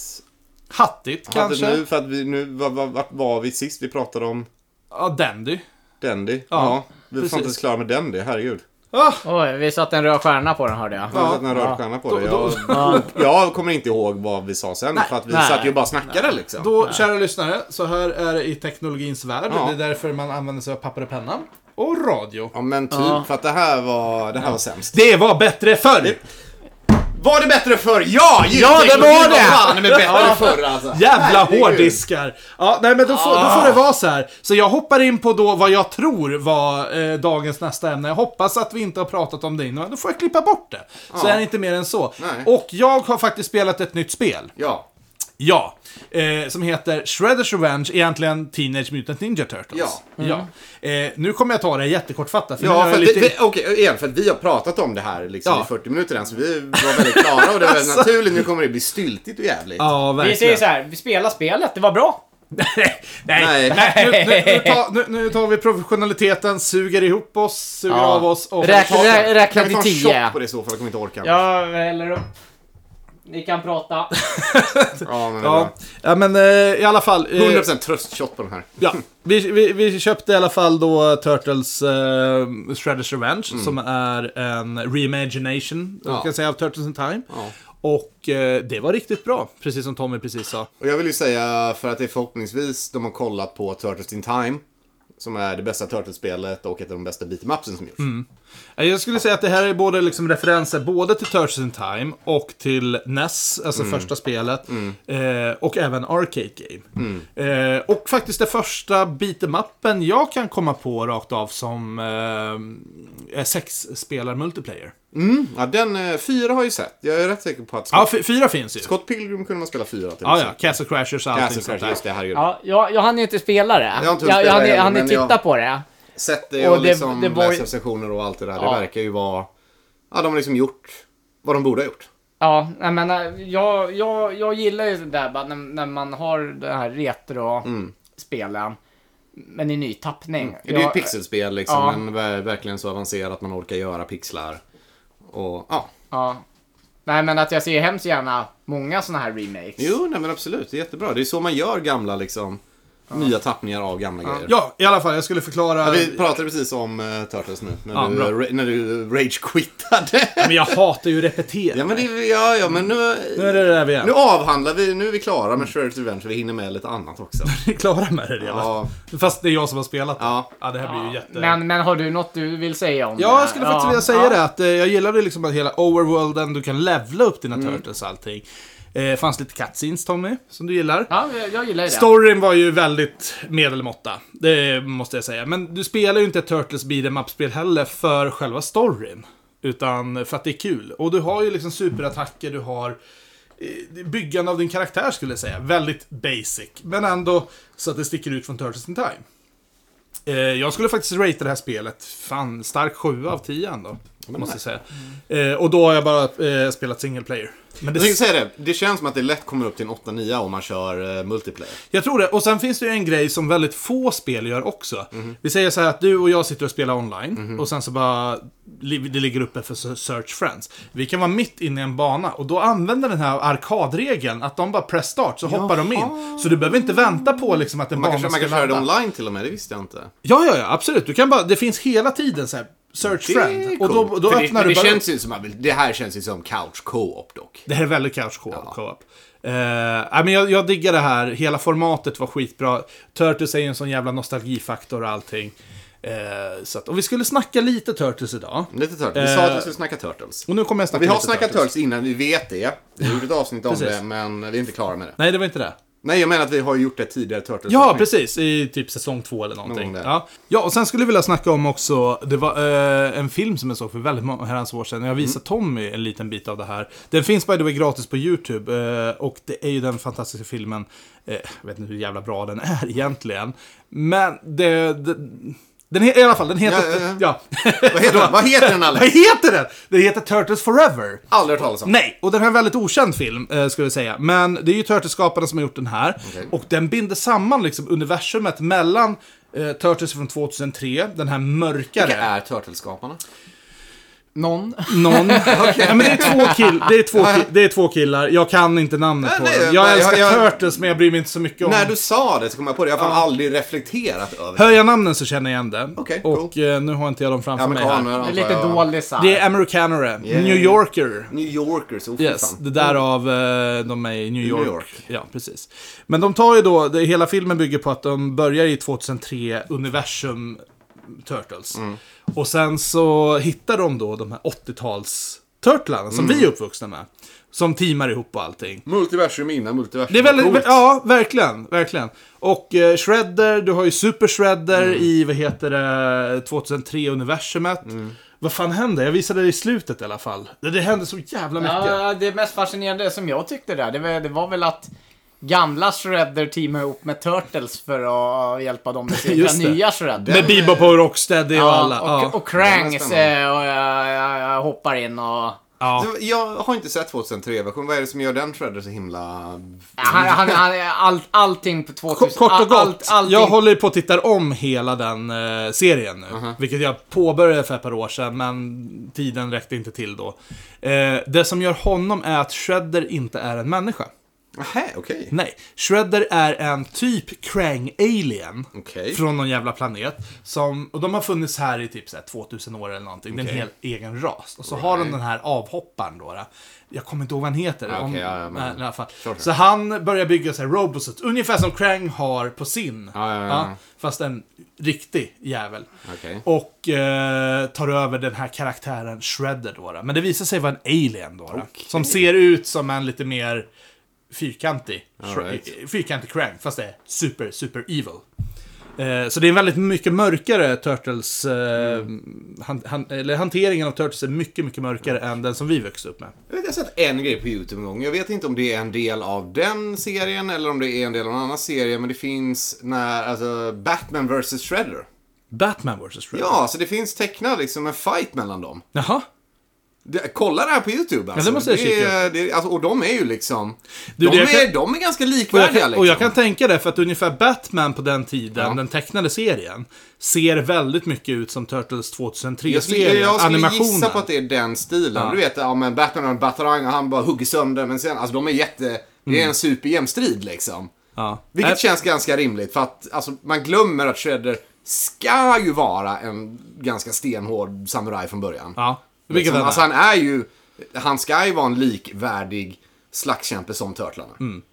S1: Hattigt kanske.
S3: Nu, för att vi, nu, vart var, var vi sist? Vi pratade om
S1: Ja, Dandy.
S3: Dendy. Ja,
S1: Ja,
S3: vi var fan
S1: precis.
S3: inte ens klara med Dendy, herregud.
S1: Ah,
S2: Oj, vi satte en röd stjärna på den hörde jag.
S3: Jag har satt en
S2: Ja.
S3: röd stjärna på det.
S1: Då-
S3: Jag,
S2: Ja.
S3: jag kommer inte ihåg vad vi sa sen, för att vi
S2: nej.
S3: satt ju och bara snackade liksom.
S1: då, kära lyssnare, så här är det i teknologins värld.
S3: Ja.
S1: Det är därför man använder sig av papper och penna. Och radio.
S3: Ja men typ,
S2: Ja.
S3: för att det här var, det här var sämst.
S1: Det var bättre förr!
S3: Var det bättre förr? Ja!
S2: Ja, det var
S3: ljudteknologi
S2: det!
S3: fan med bättre förr alltså.
S1: Jävla
S3: Herregud. Ah.
S1: hårddiskar! Ja, nej men då får, då får det vara så här. Så jag hoppar in på då vad jag tror var eh, dagens nästa ämne. Jag hoppas att vi inte har pratat om det innan. Då får jag klippa bort det. Så är det inte mer än så.
S3: Ah. Nej.
S1: Och jag har faktiskt spelat ett nytt spel.
S3: Ja.
S1: Ja. Eh, som heter Shredders Revenge, egentligen Teenage Mutant Ninja Turtles.
S3: Ja.
S1: ja. Eh, nu kommer jag ta det jättekortfattat. För nu
S3: Ja,
S1: har
S3: för
S1: jag
S3: att
S1: lite...
S3: vi, vi, okej, igen, för att vi har pratat om det här liksom
S1: Ja. Alltså.
S3: i 40 minuter än, så vi var väldigt klara och det var väldigt naturligt. Nu kommer det bli styltigt och jävligt.
S1: Ja, verkligen.
S2: Vi säger så här, vi spelar spelet, det var bra.
S1: nej,
S3: Nej.
S1: Nu, nu, nu, tar, nu, nu tar vi professionaliteten, suger ihop oss, suger
S2: Ja.
S1: av oss och...
S2: Räkna-
S3: Kan vi ta-
S2: rä- räkna
S3: kan vi ta en
S2: till
S3: shot
S2: tio?
S3: på det i så fall, jag kommer inte orka.
S2: Jag häller upp. Ni kan prata.
S3: ja men det
S1: Ja,
S3: var
S1: ja men eh, i alla fall. eh,
S3: 100% tröstshot på den här.
S1: Ja, vi, vi, vi köpte i alla fall då Turtles eh, Shredder's Revenge som är en reimagination
S3: Mm. Ja.
S1: ja. kan säga, av Turtles in Time.
S3: Ja.
S1: Och eh, det var riktigt bra, precis som Tommy precis sa.
S3: Och jag vill ju säga, för att det är förhoppningsvis de har kollat på Turtles in Time, som är det bästa Turtles-spelet och ett av de bästa beatmapsen som gjorts.
S1: Eh, Jag skulle säga att det här är både liksom referenser både till Turtles in Time och till NES, alltså
S3: Mm.
S1: första spelet. Eh, och även Arcade Game.
S3: Mm.
S1: Eh, och faktiskt det första beatemappen jag kan komma på rakt av som eh, är sexspelar multiplayer.
S3: Ja, den eh, fyra har jag ju sett. Jag är rätt säker på att Scott,
S1: Ja, f- fyra finns ju.
S3: Scott Pilgrim kunde man spela fyra till.
S1: Ja, ja. Castle Crashers och allting
S3: Castle
S1: sånt
S3: Crashers,
S1: där.
S3: just det, herregud.
S2: Ja, jag, jag hann ju inte spela det.
S3: har inte hunnit
S2: jag, jag
S3: spela
S2: hann,
S3: det
S2: jag hann
S3: heller,
S2: ju
S3: men
S2: titta
S3: jag-
S2: på det.
S3: Sett det
S2: Och
S3: och,
S2: det-
S3: liksom
S2: det var ju-
S3: läsarsektioner och allt det där.
S2: Ja.
S3: Det verkar ju vara... Ja, de har liksom gjort vad de borde ha gjort.
S2: Ja, jag menar, jag, jag, jag gillar ju det där bara när, när man har det här
S1: Mm.
S2: retro-spelen. Men i ny tappning.
S3: Det är ju
S2: Jag-
S3: ett pixelspel liksom,
S2: Ja.
S3: men ver- verkligen så avancerat att man orkar göra pixlar. Och ja,
S2: Ja. Nej, men att jag ser hemskt gärna många såna här remakes.
S3: jo, nej men absolut, det är jättebra. Det är så man gör gamla liksom, nya tappningar av gamla grejer.
S1: Ja, i alla fall. Jag skulle förklara.
S3: Vi pratade precis om uh, Turtles nu, när,
S1: Ja,
S3: du, eh,
S1: bra.
S3: ra- när du rage-quittade.
S1: Men jag hatar ju repetering.
S3: ja, men det, ja, ja, men nu...
S1: Nu är det där vi är.
S3: Nu avhandlar vi, nu är vi klara med Shredder's Revenge och vi hinner med lite annat också.
S1: Vi är klara med det redan.
S3: Ja.
S1: Fast det är jag som har spelat det.
S3: Ja.
S1: ja det här blir ju jätte...
S2: Men, men har du något du vill säga om det?
S1: Ja, jag skulle faktiskt
S2: Ja.
S1: vilja säga
S2: Ja.
S1: det. Att, eh, jag gillade liksom att hela overworlden, du kan levla upp dina
S2: Mm.
S1: turtles och allting. Eh, fanns lite cutscenes Tommy, som du gillar.
S2: Ja, jag, jag gillar ju det.
S1: Storyn var ju väldigt medelmåtta, det måste jag säga. Men du spelar ju inte ett Turtles beat'em up-spel heller för själva storyn. Utan för att det är kul. Och du har ju liksom superattacker, du har eh, byggande av din karaktär skulle jag säga. Väldigt basic. Men ändå så att det sticker ut från Turtles in Time. Eh, Jag skulle faktiskt ratea det här spelet, fan, stark 7 av 10 ändå. måste jag säga. Eh, och då har jag bara eh, spelat single player. Men
S3: Jag
S1: det,
S3: tänkte säga det, det känns som att det lätt kommer upp till en 8-9 om man kör eh, multiplayer.
S1: jag tror det. Och sen finns det ju en grej som väldigt få spel gör också. Vi säger så här att du och jag sitter och spelar online och sen så bara li- det ligger uppe för s- search friends. Vi kan vara mitt inne i en bana och då använder den här arkadregeln att de bara press start så hoppar de in. Så du behöver inte vänta på liksom att en
S3: Man
S1: bana
S3: kan, köra- man kan
S1: ska
S3: köra det
S1: ladda.
S3: online till och med, det visste jag inte.
S1: Ja, ja, ja, absolut. Du kan bara, det finns hela tiden så här, search
S3: Det är
S1: friend. Och då,
S3: coolt.
S1: då
S3: För
S1: öppnar
S3: det,
S1: du
S3: det
S1: bara upp.
S3: känns ju som att det här känns ju som couch co-op dock.
S1: Det här är väldigt couch co-op. co-op. Eh, nej, men jag, jag diggar det här, hela formatet var skitbra. Turtles är ju en sån jävla nostalgifaktor och allting. Eh, så att, och vi skulle snacka lite Turtles idag.
S3: Lite Turtles. Vi sa att vi skulle snacka Turtles.
S1: Och nu kommer jag snacka
S3: Mm. Vi har
S1: Eh, lite
S3: snackat Turtles innan, vi vet det. Vi gjorde ett avsnitt om
S1: Precis.
S3: det, men vi är inte klara med det.
S1: Nej, det var inte det.
S3: Nej, jag menar att vi har ju gjort det tidigare, Turtles.
S1: Ja, precis. I typ säsong två eller någonting.
S3: Någon där.
S1: Ja. ja, och sen skulle jag vilja snacka om också, det var eh, en film som jag såg för väldigt många herrans år sedan. Jag
S3: Mm.
S1: visade Tommy en liten bit av det här. Den finns by the way gratis på YouTube. Eh, och det är ju den fantastiska filmen, eh, jag vet inte hur jävla bra den är egentligen. Men det... det den he- I alla fall, den heter...
S3: Ja, ja,
S1: ja.
S3: Vad heter den? Vad heter den
S1: Vad
S3: Alex?
S1: heter den? Den heter Turtles Forever.
S3: Aldrig hört talas om.
S1: Nej, och den här är en väldigt okänd film, eh, ska vi säga. Men det är ju Turtles-skaparna som har gjort den här.
S3: Okej.
S1: Och den binder samman liksom universumet mellan eh, Turtles från 2003, den här mörkare...
S3: Vilka är Turtleskaparna?
S2: Någon.
S1: Någon. ja, men det, är två kill, det, är två ki- det är två killar, jag kan inte namnet
S3: Nej,
S1: på
S3: nej,
S1: dem. Jag,
S3: jag-
S1: älskar
S3: jag- jag-
S1: Turtles, men jag bryr mig inte så mycket om...
S3: När du sa det så kom jag på det. Jag har fan aldrig reflekterat över det.
S1: Hör jag namnen så känner jag igen det.
S3: Okej,
S1: och eh, nu har inte jag dem framför mig här.
S3: Amerikaner,
S2: Det är
S3: antar
S2: lite
S3: jag.
S2: dålisar.
S1: Det är amerikanare,
S3: Yeah.
S1: New Yorker.
S3: New Yorkers, oh, fy
S1: Yes,
S3: fan.
S1: det där av eh, de är i New York.
S3: York.
S1: Ja, precis. Men de tar ju då, det, hela filmen bygger på att de börjar i 2003-universum Turtles.
S3: Mm.
S1: Och sen så hittar de då de här 80-tals Turtlarna som
S3: Mm.
S1: vi är uppvuxna med. Som teamar ihop och allting.
S3: Multiversum innan multiversum.
S1: Det är väldigt,
S3: Coolt.
S1: ja, verkligen, verkligen. Och eh, Shredder, du har ju Super Shredder
S3: Mm.
S1: i, vad heter det, 2003-universumet.
S3: Mm.
S1: Vad fan hände? Jag visade det i slutet i alla fall. Det, det hände så jävla mycket.
S2: Ja, det mest fascinerande som jag tyckte där, det var, det var väl att gamla Shredder teamade ihop med Turtles för att hjälpa dem att segra
S1: Just det.
S2: nya Shredder.
S1: Med Bebop och Rocksteady och alla.
S2: och,
S1: ja.
S2: och
S3: Det var
S2: Kranks
S3: spännande.
S2: eh, och, eh, hoppar in och...
S1: ja.
S3: Så Jag har inte sett 2003-versionen. Vad är det som gör den Shredder så himla...
S2: Han, han, han, all, allting på
S1: Ko-
S2: 2000...
S1: Kort och gott,
S2: allt, allting,
S1: jag håller ju på att titta om hela den eh, serien nu.
S2: Mhm.
S1: Vilket jag påbörjade för ett par år sedan, men tiden räckte inte till då. Eh, det som gör honom är att Shredder inte är en människa.
S3: Nähä, okej.
S1: Nej, Shredder är en typ Krang-alien.
S3: Okej.
S1: Från någon jävla planet. Som, och de har funnits här i typ så här 2000 år eller någonting. Det är en
S3: Okej.
S1: hel egen ras. Och så har de den här avhopparen då. då. Jag kommer inte ihåg vad han heter.
S3: Ja,
S1: om,
S3: Ah, okej, ja, ja, men-
S1: nej, i alla fall.
S3: Sure, sure.
S1: Så han börjar bygga sig Robosuit. Ungefär som Krang har på sin.
S3: Ja, ja, ja.
S1: fast en riktig jävel.
S3: Okej.
S1: Och eh, tar över den här karaktären Shredder då. då. Men det visar sig vara en alien då. då. Som ser ut som en lite mer fyrkantig.
S3: Alright.
S1: Fyrkantig Krang, fast det är super, super evil. Eh, Så det är en väldigt mycket mörkare Turtles... eh,
S3: Mm.
S1: Han, han, eller hanteringen av Turtles är mycket, mycket mörkare än den som vi växte upp med.
S3: Jag vet, jag har sett en grej på YouTube en gång. Jag vet inte om det är en del av den serien eller om det är en del av en annan serie. Men det finns när, alltså, Batman vs. Shredder.
S1: Batman vs. Shredder.
S3: Ja, så det finns tecknad liksom en fight mellan dem.
S1: Jaha.
S3: Det, kolla det här på YouTube alltså.
S1: det måste jag kika.
S3: är- det, är- alltså, Och de är ju liksom...
S1: Du,
S3: de,
S1: det jag
S3: är,
S1: kan-
S3: de är ganska
S1: Och jag,
S3: likvärdiga
S1: kan,
S3: liksom.
S1: och jag kan tänka det, för att ungefär Batman på den tiden,
S3: Ja.
S1: den tecknade serien, ser väldigt mycket ut som Turtles
S3: Jag skulle,
S1: 2003-serien.
S3: jag skulle gissa
S1: Animationen.
S3: på att det är den stilen. Du vet, ja men Batman har en batarang och han bara hugger sönder. Men sen, alltså de är jätte... Det är en superjämn strid liksom.
S1: Mm. Ja.
S3: Vilket
S1: Nej,
S3: känns ganska rimligt för att alltså, man glömmer att Shredder ska ju vara en ganska stenhård samuraj från början.
S1: Ja, vilket
S3: Liksom,
S1: den är.
S3: alltså han är ju... Han ska ju vara en likvärdig slagskämpe som Turtlarna.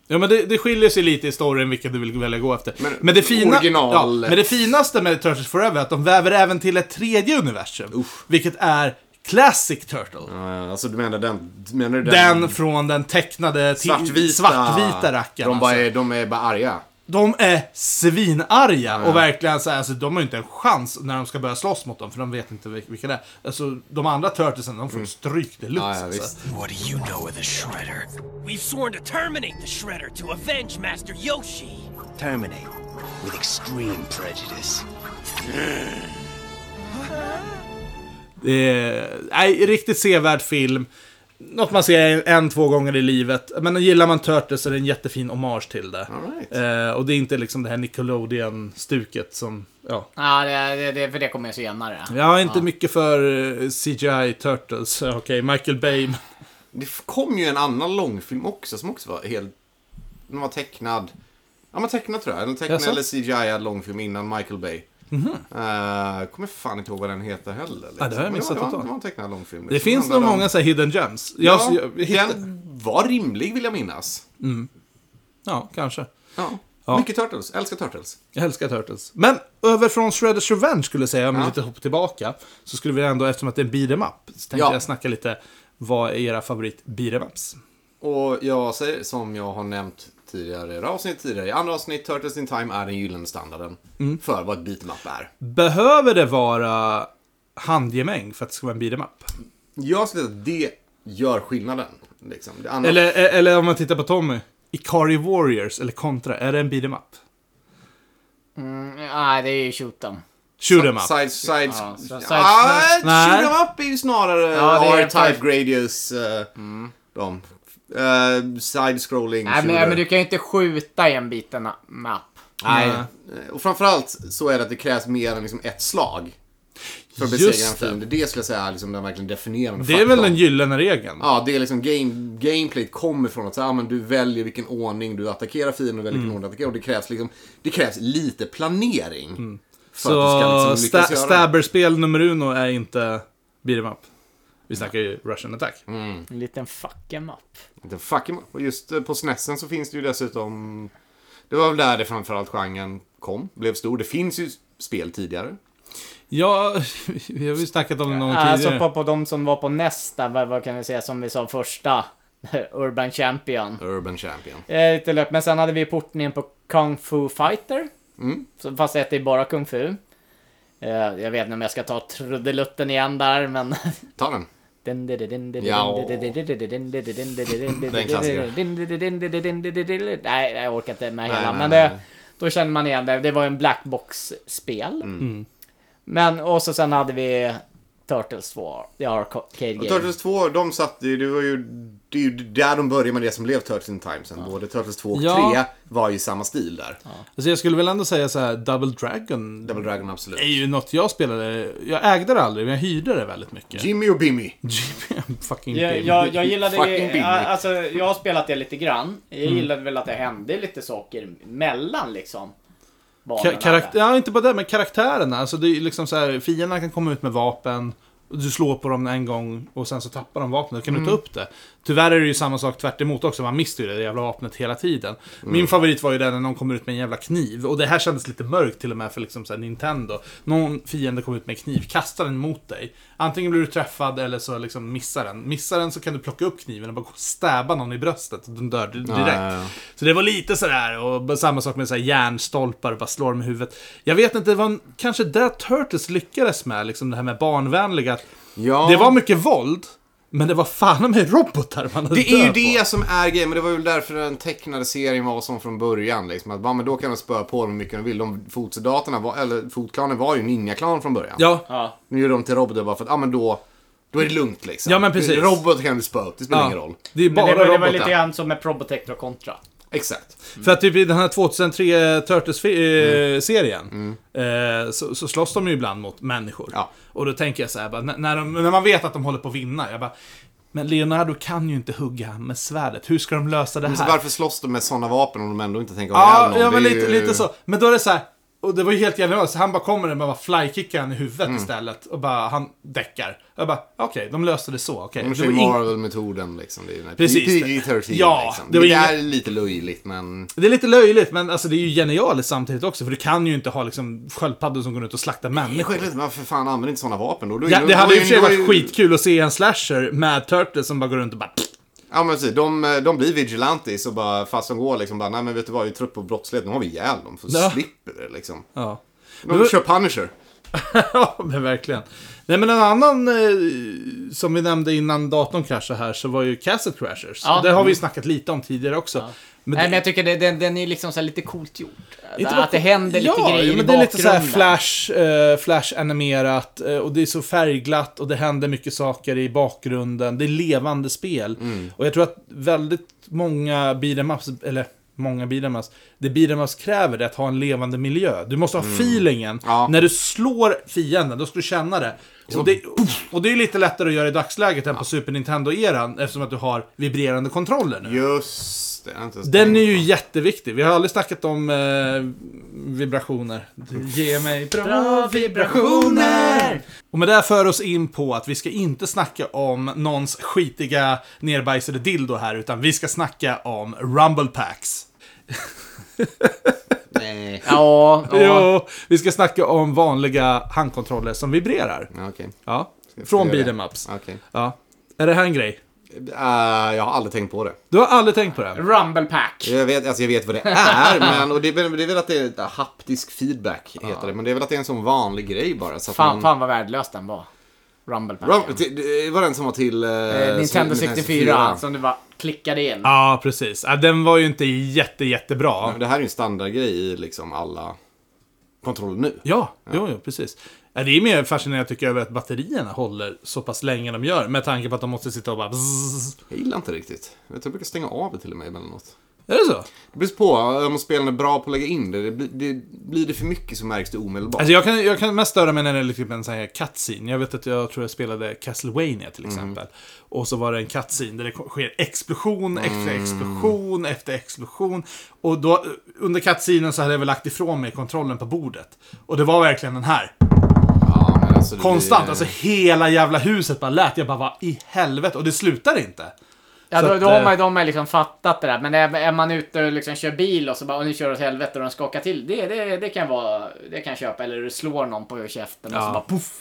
S1: Ja, men det, det skiljer sig lite i storyn vilka du vill välja gå efter. Men,
S3: Men
S1: det, fina,
S3: original-
S1: ja, men det finaste med Turtles Forever är att de väver även till ett tredje universum. Vilket är Classic Turtle.
S3: Eh, Alltså du menar den... Menar du den...
S1: Den från den tecknade till-
S3: Svartvita,
S1: svartvita rackaren.
S3: De, bara
S1: alltså.
S3: är, de är bara arga.
S1: de är svinarga och verkligen så här, alltså, de har ju inte en chans när de ska börja slåss mot dem för de vet inte vil- vilka det är. Alltså, de andra Turtlesen, de får stryk deluxe.
S3: Mm. Ja, ja,
S1: alltså.
S3: visst.
S4: What do you know of the Shredder?
S5: We've sworn to terminate the Shredder to avenge Master Yoshi.
S4: Terminate with extreme prejudice.
S1: Det är, nej, riktigt sevärd film. Något man ser en, en, två gånger i livet. Men gillar man Turtles så är det en jättefin hommage till det.
S3: All right.
S1: Eh, och det är inte liksom det här Nickelodeon-stuket som... Ja.
S2: Ja, det, det, det, för det kommer jag senare.
S1: Jag är inte mycket för eh, CGI Turtles. Eh, Okej, Michael Bay. men-
S3: Det f- kom ju en annan långfilm också som också var helt... Den var tecknad. Ja, men tecknad tror jag. En tecknad
S1: Jaså? Mhm.
S3: eller CGI långfilm innan Michael Bay. Mm-hmm. kommer fan inte ihåg vad den heter heller. Liksom.
S1: Ja, det har jag
S3: Men
S1: missat
S3: var- det var-
S1: totalt.
S3: Det var en tecknad långfilm.
S1: Det
S3: liksom.
S1: finns nog
S3: handlade om-
S1: många så här hidden gems. Jag,
S3: Ja,
S1: jag, jag hittade,
S3: den var rimlig vill jag minnas.
S1: ja, kanske.
S3: Ja.
S1: Ja.
S3: Mycket Turtles. Älskar Turtles.
S1: Jag älskar Turtles. Men över från Shredders Revenge skulle jag säga, om
S3: Ja.
S1: lite hopp tillbaka, så skulle vi ändå, eftersom att det är en beat 'em up, så tänkte
S3: Ja.
S1: jag snacka lite, vad är era favorit beat 'em ups?
S3: Och jag säger som jag har nämnt tidigare i det här avsnitt, tidigare i andra avsnitt, Turtles in Time är den gyllene standarden
S1: Mm.
S3: för vad ett beatmap är.
S1: Behöver det vara handgemäng för att det ska vara en beat 'em up?
S3: Mm. Jag skulle säga att det gör skillnaden. Liksom. Det andra...
S1: Eller, eh, eller om man tittar på Tommy, Ikari Warriors eller Contra, är det en beat 'em up?
S2: Mm, nej, det är ju shoot them.
S1: Shoot 'em up.
S3: Side, side,
S2: Ja, så- side-
S3: ah,
S1: Nej.
S3: shoot 'em up är ju snarare
S2: Ja, det är
S3: R-Type
S2: för-
S3: Gradius. eh, De. Eh, Side-scrolling.
S2: Nej, men,
S3: shooter.
S2: men du kan ju inte skjuta i en biten map.
S3: Nej. Och framförallt så är det att det krävs mer än liksom ett slag. För att besegra en
S1: Just det.
S3: fiende. Det skulle jag säga är liksom den verkligen definierande
S1: Det är väl
S3: faktorn.
S1: den gyllene regeln?
S3: Ja, det är liksom game, gameplay kommer från att så här, men du väljer vilken ordning du attackerar fienden och väljer vilken ordning du attackerar. Och det krävs, liksom, det krävs lite planering. För
S1: Så
S3: att du ska liksom lyckas
S1: sta-
S3: göra det.
S1: stabberspel nummer uno är inte beat 'em up. Vi snackar ju Russian Attack.
S3: Mm.
S2: En liten fucking map.
S3: The fucking... Och just eh, på snessen så finns det ju dessutom... Det var väl där det framförallt genren kom, blev stor. Det finns ju spel tidigare.
S1: Ja, vi har ju snackat om det
S3: Äh,
S1: någon
S2: Alltså
S1: tidigare.
S2: på, på de som var på nästa, vad, vad kan vi säga som vi sa första? Urban Champion.
S3: Urban Champion.
S2: Eh, lite löp. Men sen hade vi portningen på Kung Fu Fighter.
S3: Mm.
S2: Så, fast det är bara Kung Fu. Eh, jag vet inte om jag ska ta trudelutten igen där, men...
S3: Ta den.
S2: Den
S3: Ja.
S2: klassiker. Nej, jag orkar inte med
S3: Nej,
S2: hela.
S3: nej,
S2: Men
S3: nej,
S2: det, då känner man igen det. Det var en blackbox-spel.
S3: Mm.
S2: Men och så sen hade vi Turtles 2. Det har Arcade
S3: Och
S2: Game.
S3: Turtles 2, de satte ju, det var ju, det är ju där de började med det som blev Turtles in Time sen. Både Turtles 2 och
S1: Ja.
S3: 3 var ju samma stil där.
S1: Alltså jag skulle väl ändå säga så här, Double Dragon
S3: Double Dragon absolut.
S1: är ju något jag spelade, jag ägde det aldrig, men jag hyrde det väldigt mycket.
S3: Jimmy och Bimmy.
S1: Jimmy, fucking
S2: Jag,
S1: Jimmy.
S2: jag, jag gillade
S3: Fucking
S2: ju,
S3: Bimmy.
S2: alltså jag har spelat det lite grann. Jag gillade väl att det hände lite saker mellan liksom.
S1: Ka-
S2: banorna
S1: karakt-
S2: där.
S1: ja, inte bara det, men karaktärerna. Alltså det är liksom så här, fienderna kan komma ut med vapen, och du slår på dem en gång och sen så tappar de vapnet, då kan
S3: Mm.
S1: du ta upp det. Tyvärr är det ju samma sak tvärt emot också, man mister ju det jävla vapnet hela tiden.
S3: Mm.
S1: Min favorit var ju den när någon kommer ut med en jävla kniv, och det här kändes lite mörkt till och med för liksom så här Nintendo. Någon fiende kommer ut med en kniv, kastar den mot dig. Antingen blir du träffad eller så liksom missar den. Missar den så kan du plocka upp kniven och bara gå och stäba någon i bröstet, och den dör direkt.
S3: Ja, ja, ja.
S1: Så det var lite sådär, och samma sak med så här järnstolpar, bara slår dem i huvudet. Jag vet inte, det var en, kanske det Turtles lyckades med, liksom det här med barnvänliga. att
S3: Ja.
S1: Det var mycket våld, men det var fan med robotar man hade
S3: Det är ju
S1: död på.
S3: det som är grejen, men det var väl därför den tecknade serien var som från början. Liksom. Att, ja, men då kan de spöa på dem hur mycket de vill. De, fotsoldaterna, var, eller fotklanen var ju en ninjaklan från början.
S1: Ja,
S2: Ja.
S3: Nu gör de till robotar bara för att, ja men då, då är det lugnt liksom.
S1: Ja, men precis.
S3: Robot kan du spöa upp, det spelar
S1: ja.
S3: ingen roll.
S1: Det är
S2: Men
S1: bara
S2: det var, det var
S1: robotar.
S2: lite grann som med Probotector och Contra.
S3: Exakt.
S1: För att typ i den här 2003 Turtles-serien eh, så, så slåss de ju ibland mot människor.
S3: Mm. Ja.
S1: Och då tänker jag så här, bara, när, när, de, när man vet att de håller på att vinna, jag bara men Leonardo kan ju inte hugga med svärdet. Hur ska de lösa det här?
S3: Så varför slåss de med sådana vapen om de ändå inte tänker ihjäl
S1: Ja,
S3: någon?
S1: ja men
S3: Det är
S1: lite,
S3: ju-
S1: lite så. Men då är det så här. Och det var ju helt genialt. Så han bara kommer där med bara flykickar han i huvudet
S3: Mm.
S1: istället. Och bara, han däckar. Jag bara, okej, de löste det så. Okej.
S3: De
S1: Det
S3: kör
S1: var
S3: ju
S1: ing-
S3: Marvel-metoden liksom. Det är ju
S1: Precis.
S3: PG-13
S1: Ja,
S3: liksom.
S1: det
S3: Det,
S1: var
S3: det
S1: inga-
S3: är lite löjligt men...
S1: det är lite löjligt, men alltså det är ju genialiskt samtidigt också. För du kan ju inte ha liksom sköldpaddor som går ut och slaktar
S3: Det
S1: människor.
S3: är lite, varför fan använder inte sådana vapen då? då är-
S1: Ja,
S3: då-
S1: det
S3: då
S1: hade ju
S3: är-
S1: i och för sig
S3: då är-
S1: varit skitkul att se en slasher med Turtles som bara går runt och bara...
S3: Ja men precis, de, de blir vigilantes och bara, fast de går liksom bara, nej men vet du vad, vi är trött på brottslighet, nu har vi ihjäl dem, för
S1: Ja.
S3: slipper det liksom.
S1: Ja.
S3: De kör Punisher.
S1: Ja, men verkligen. Nej, men en annan eh, som vi nämnde innan datorn kraschade här så var ju Cassette Crashers.
S2: Ja.
S1: Det har vi ju snackat lite om tidigare också. Mm. Men
S2: Nej,
S1: det-
S2: men jag tycker det, den, den är liksom så här lite coolt gjort.
S1: Inte bara-
S2: att det händer lite
S1: ja,
S2: grejer
S1: ja, men
S2: i
S1: det är lite så här
S2: bakgrunden.
S1: flash, eh, flash animerat eh, och det är så färgglatt och det händer mycket saker i bakgrunden. Det är levande spel.
S2: Mm.
S1: Och jag tror att väldigt många beat'em-ups, eller många beat'em-ups, det beat'em-ups kräver det att ha en levande miljö. Du måste ha
S2: Mm.
S1: feelingen.
S3: Ja.
S1: När du slår fienden, då ska du känna det. Och det, och det är lite lättare att göra i dagsläget än på Super Nintendo-eran eftersom att du har vibrerande kontroller nu.
S3: Just det. jag har inte ens
S1: Den
S3: tänkt
S1: är
S3: på.
S1: ju jätteviktig. Vi har aldrig snackat om eh, vibrationer. Ge mig bra vibrationer! Och med det här för oss in på att vi ska inte snacka om någons skitiga nerbajsade dildo här, utan vi ska snacka om rumble packs.
S3: Nej.
S2: Ja, ja.
S1: Jo, vi ska snacka om vanliga handkontroller som vibrerar.
S3: Ja, Okej.
S1: Ja, från
S3: göra det?
S1: beat'em ups.
S3: Okej.
S1: Ja. Är det här en grej?
S3: Eh, jag har aldrig tänkt på det.
S1: Du har aldrig tänkt på det?
S2: Rumble pack.
S3: Jag vet, alltså jag vet vad det är, men och det, är väl- det är väl att det är haptisk feedback, heter det. Men det är väl att det är en sån vanlig grej bara. Så att
S2: Fan,
S3: man,
S2: fan vad värdelös den var. Rumble pack.
S3: Rum- det- det var den som var till... eh,
S2: eh, Nintendo alltså.
S3: som-
S2: 64 som du bara klickade in.
S1: Ja, precis. Ja, den var ju inte jätte, jättebra.
S3: Men Det här är ju en standardgrej i liksom alla kontroller nu.
S1: Ja, Jo, jo, precis. Ja, Det är mer fascinerande tycker jag över att batterierna håller så pass länge de gör. Med tanke på att de måste sitta och bara bzzz.
S3: Jag gillar inte riktigt. Jag tror jag brukar stänga av det till och med emellanåt.
S1: Är det så?
S3: Det beror på om spelen är bra på att lägga in det. det, blir- det blir det för mycket så märks det omedelbart.
S1: Alltså jag kan, jag kan mest störa mig när det är typ en sån här cutscene. Jag vet att jag tror jag spelade Castlevania till exempel. Och så var det en cutscene där det ko- sker explosion efter explosion efter explosion. Och då, under cutscenen så hade jag väl lagt ifrån mig kontrollen på bordet. Och det var verkligen den här.
S3: ja, men alltså det blir-
S1: Konstant, alltså hela jävla huset bara lät. Jag bara, vad i helvete? Och det slutar inte.
S2: Ja,
S1: Så
S2: då,
S1: att,
S2: då har
S1: eh,
S2: man, de har liksom fattat det där. Men är, är man ute och liksom kör bil och så bara, och nu kör åt helvete och de skakar till. Det, det, det kan vara, det kan jag köpa. Eller du slår någon på käften och
S1: Ja.
S2: så bara poff.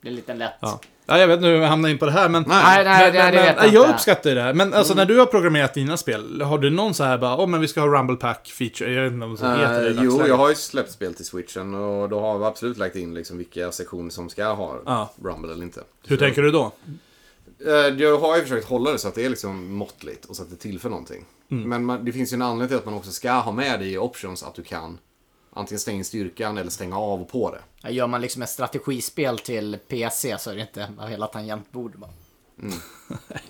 S2: Det är lite lätt.
S1: Ja. Ja, jag vet nu hur jag hamnar in på det här, men...
S3: Nej.
S2: Nej,
S3: Mm.
S2: nej, det, det vet jag
S1: jag,
S2: inte.
S1: uppskattar ju det här. Men alltså när du har programmerat dina spel, har du någon så här bara, åh men vi ska ha Rumble Pack feature, jag vet inte om det
S3: Eh,
S1: heter det i
S3: jo,
S1: dagsläget.
S3: jag har ju släppt spel till switchen och då har vi absolut lagt in liksom vilka sektioner som ska ha
S1: Ja.
S3: Rumble eller inte.
S1: Hur tänker du då?
S3: Eh, Jag har ju försökt hålla det så att det är liksom måttligt och så att det tillför någonting.
S1: Mm.
S3: Men man, det finns ju en anledning till att man också ska ha med det i options att du kan antingen stänga in styrkan eller stänga av och på det.
S2: Ja, Gör man liksom ett strategispel till PC så är det inte hela tangentbordet bara.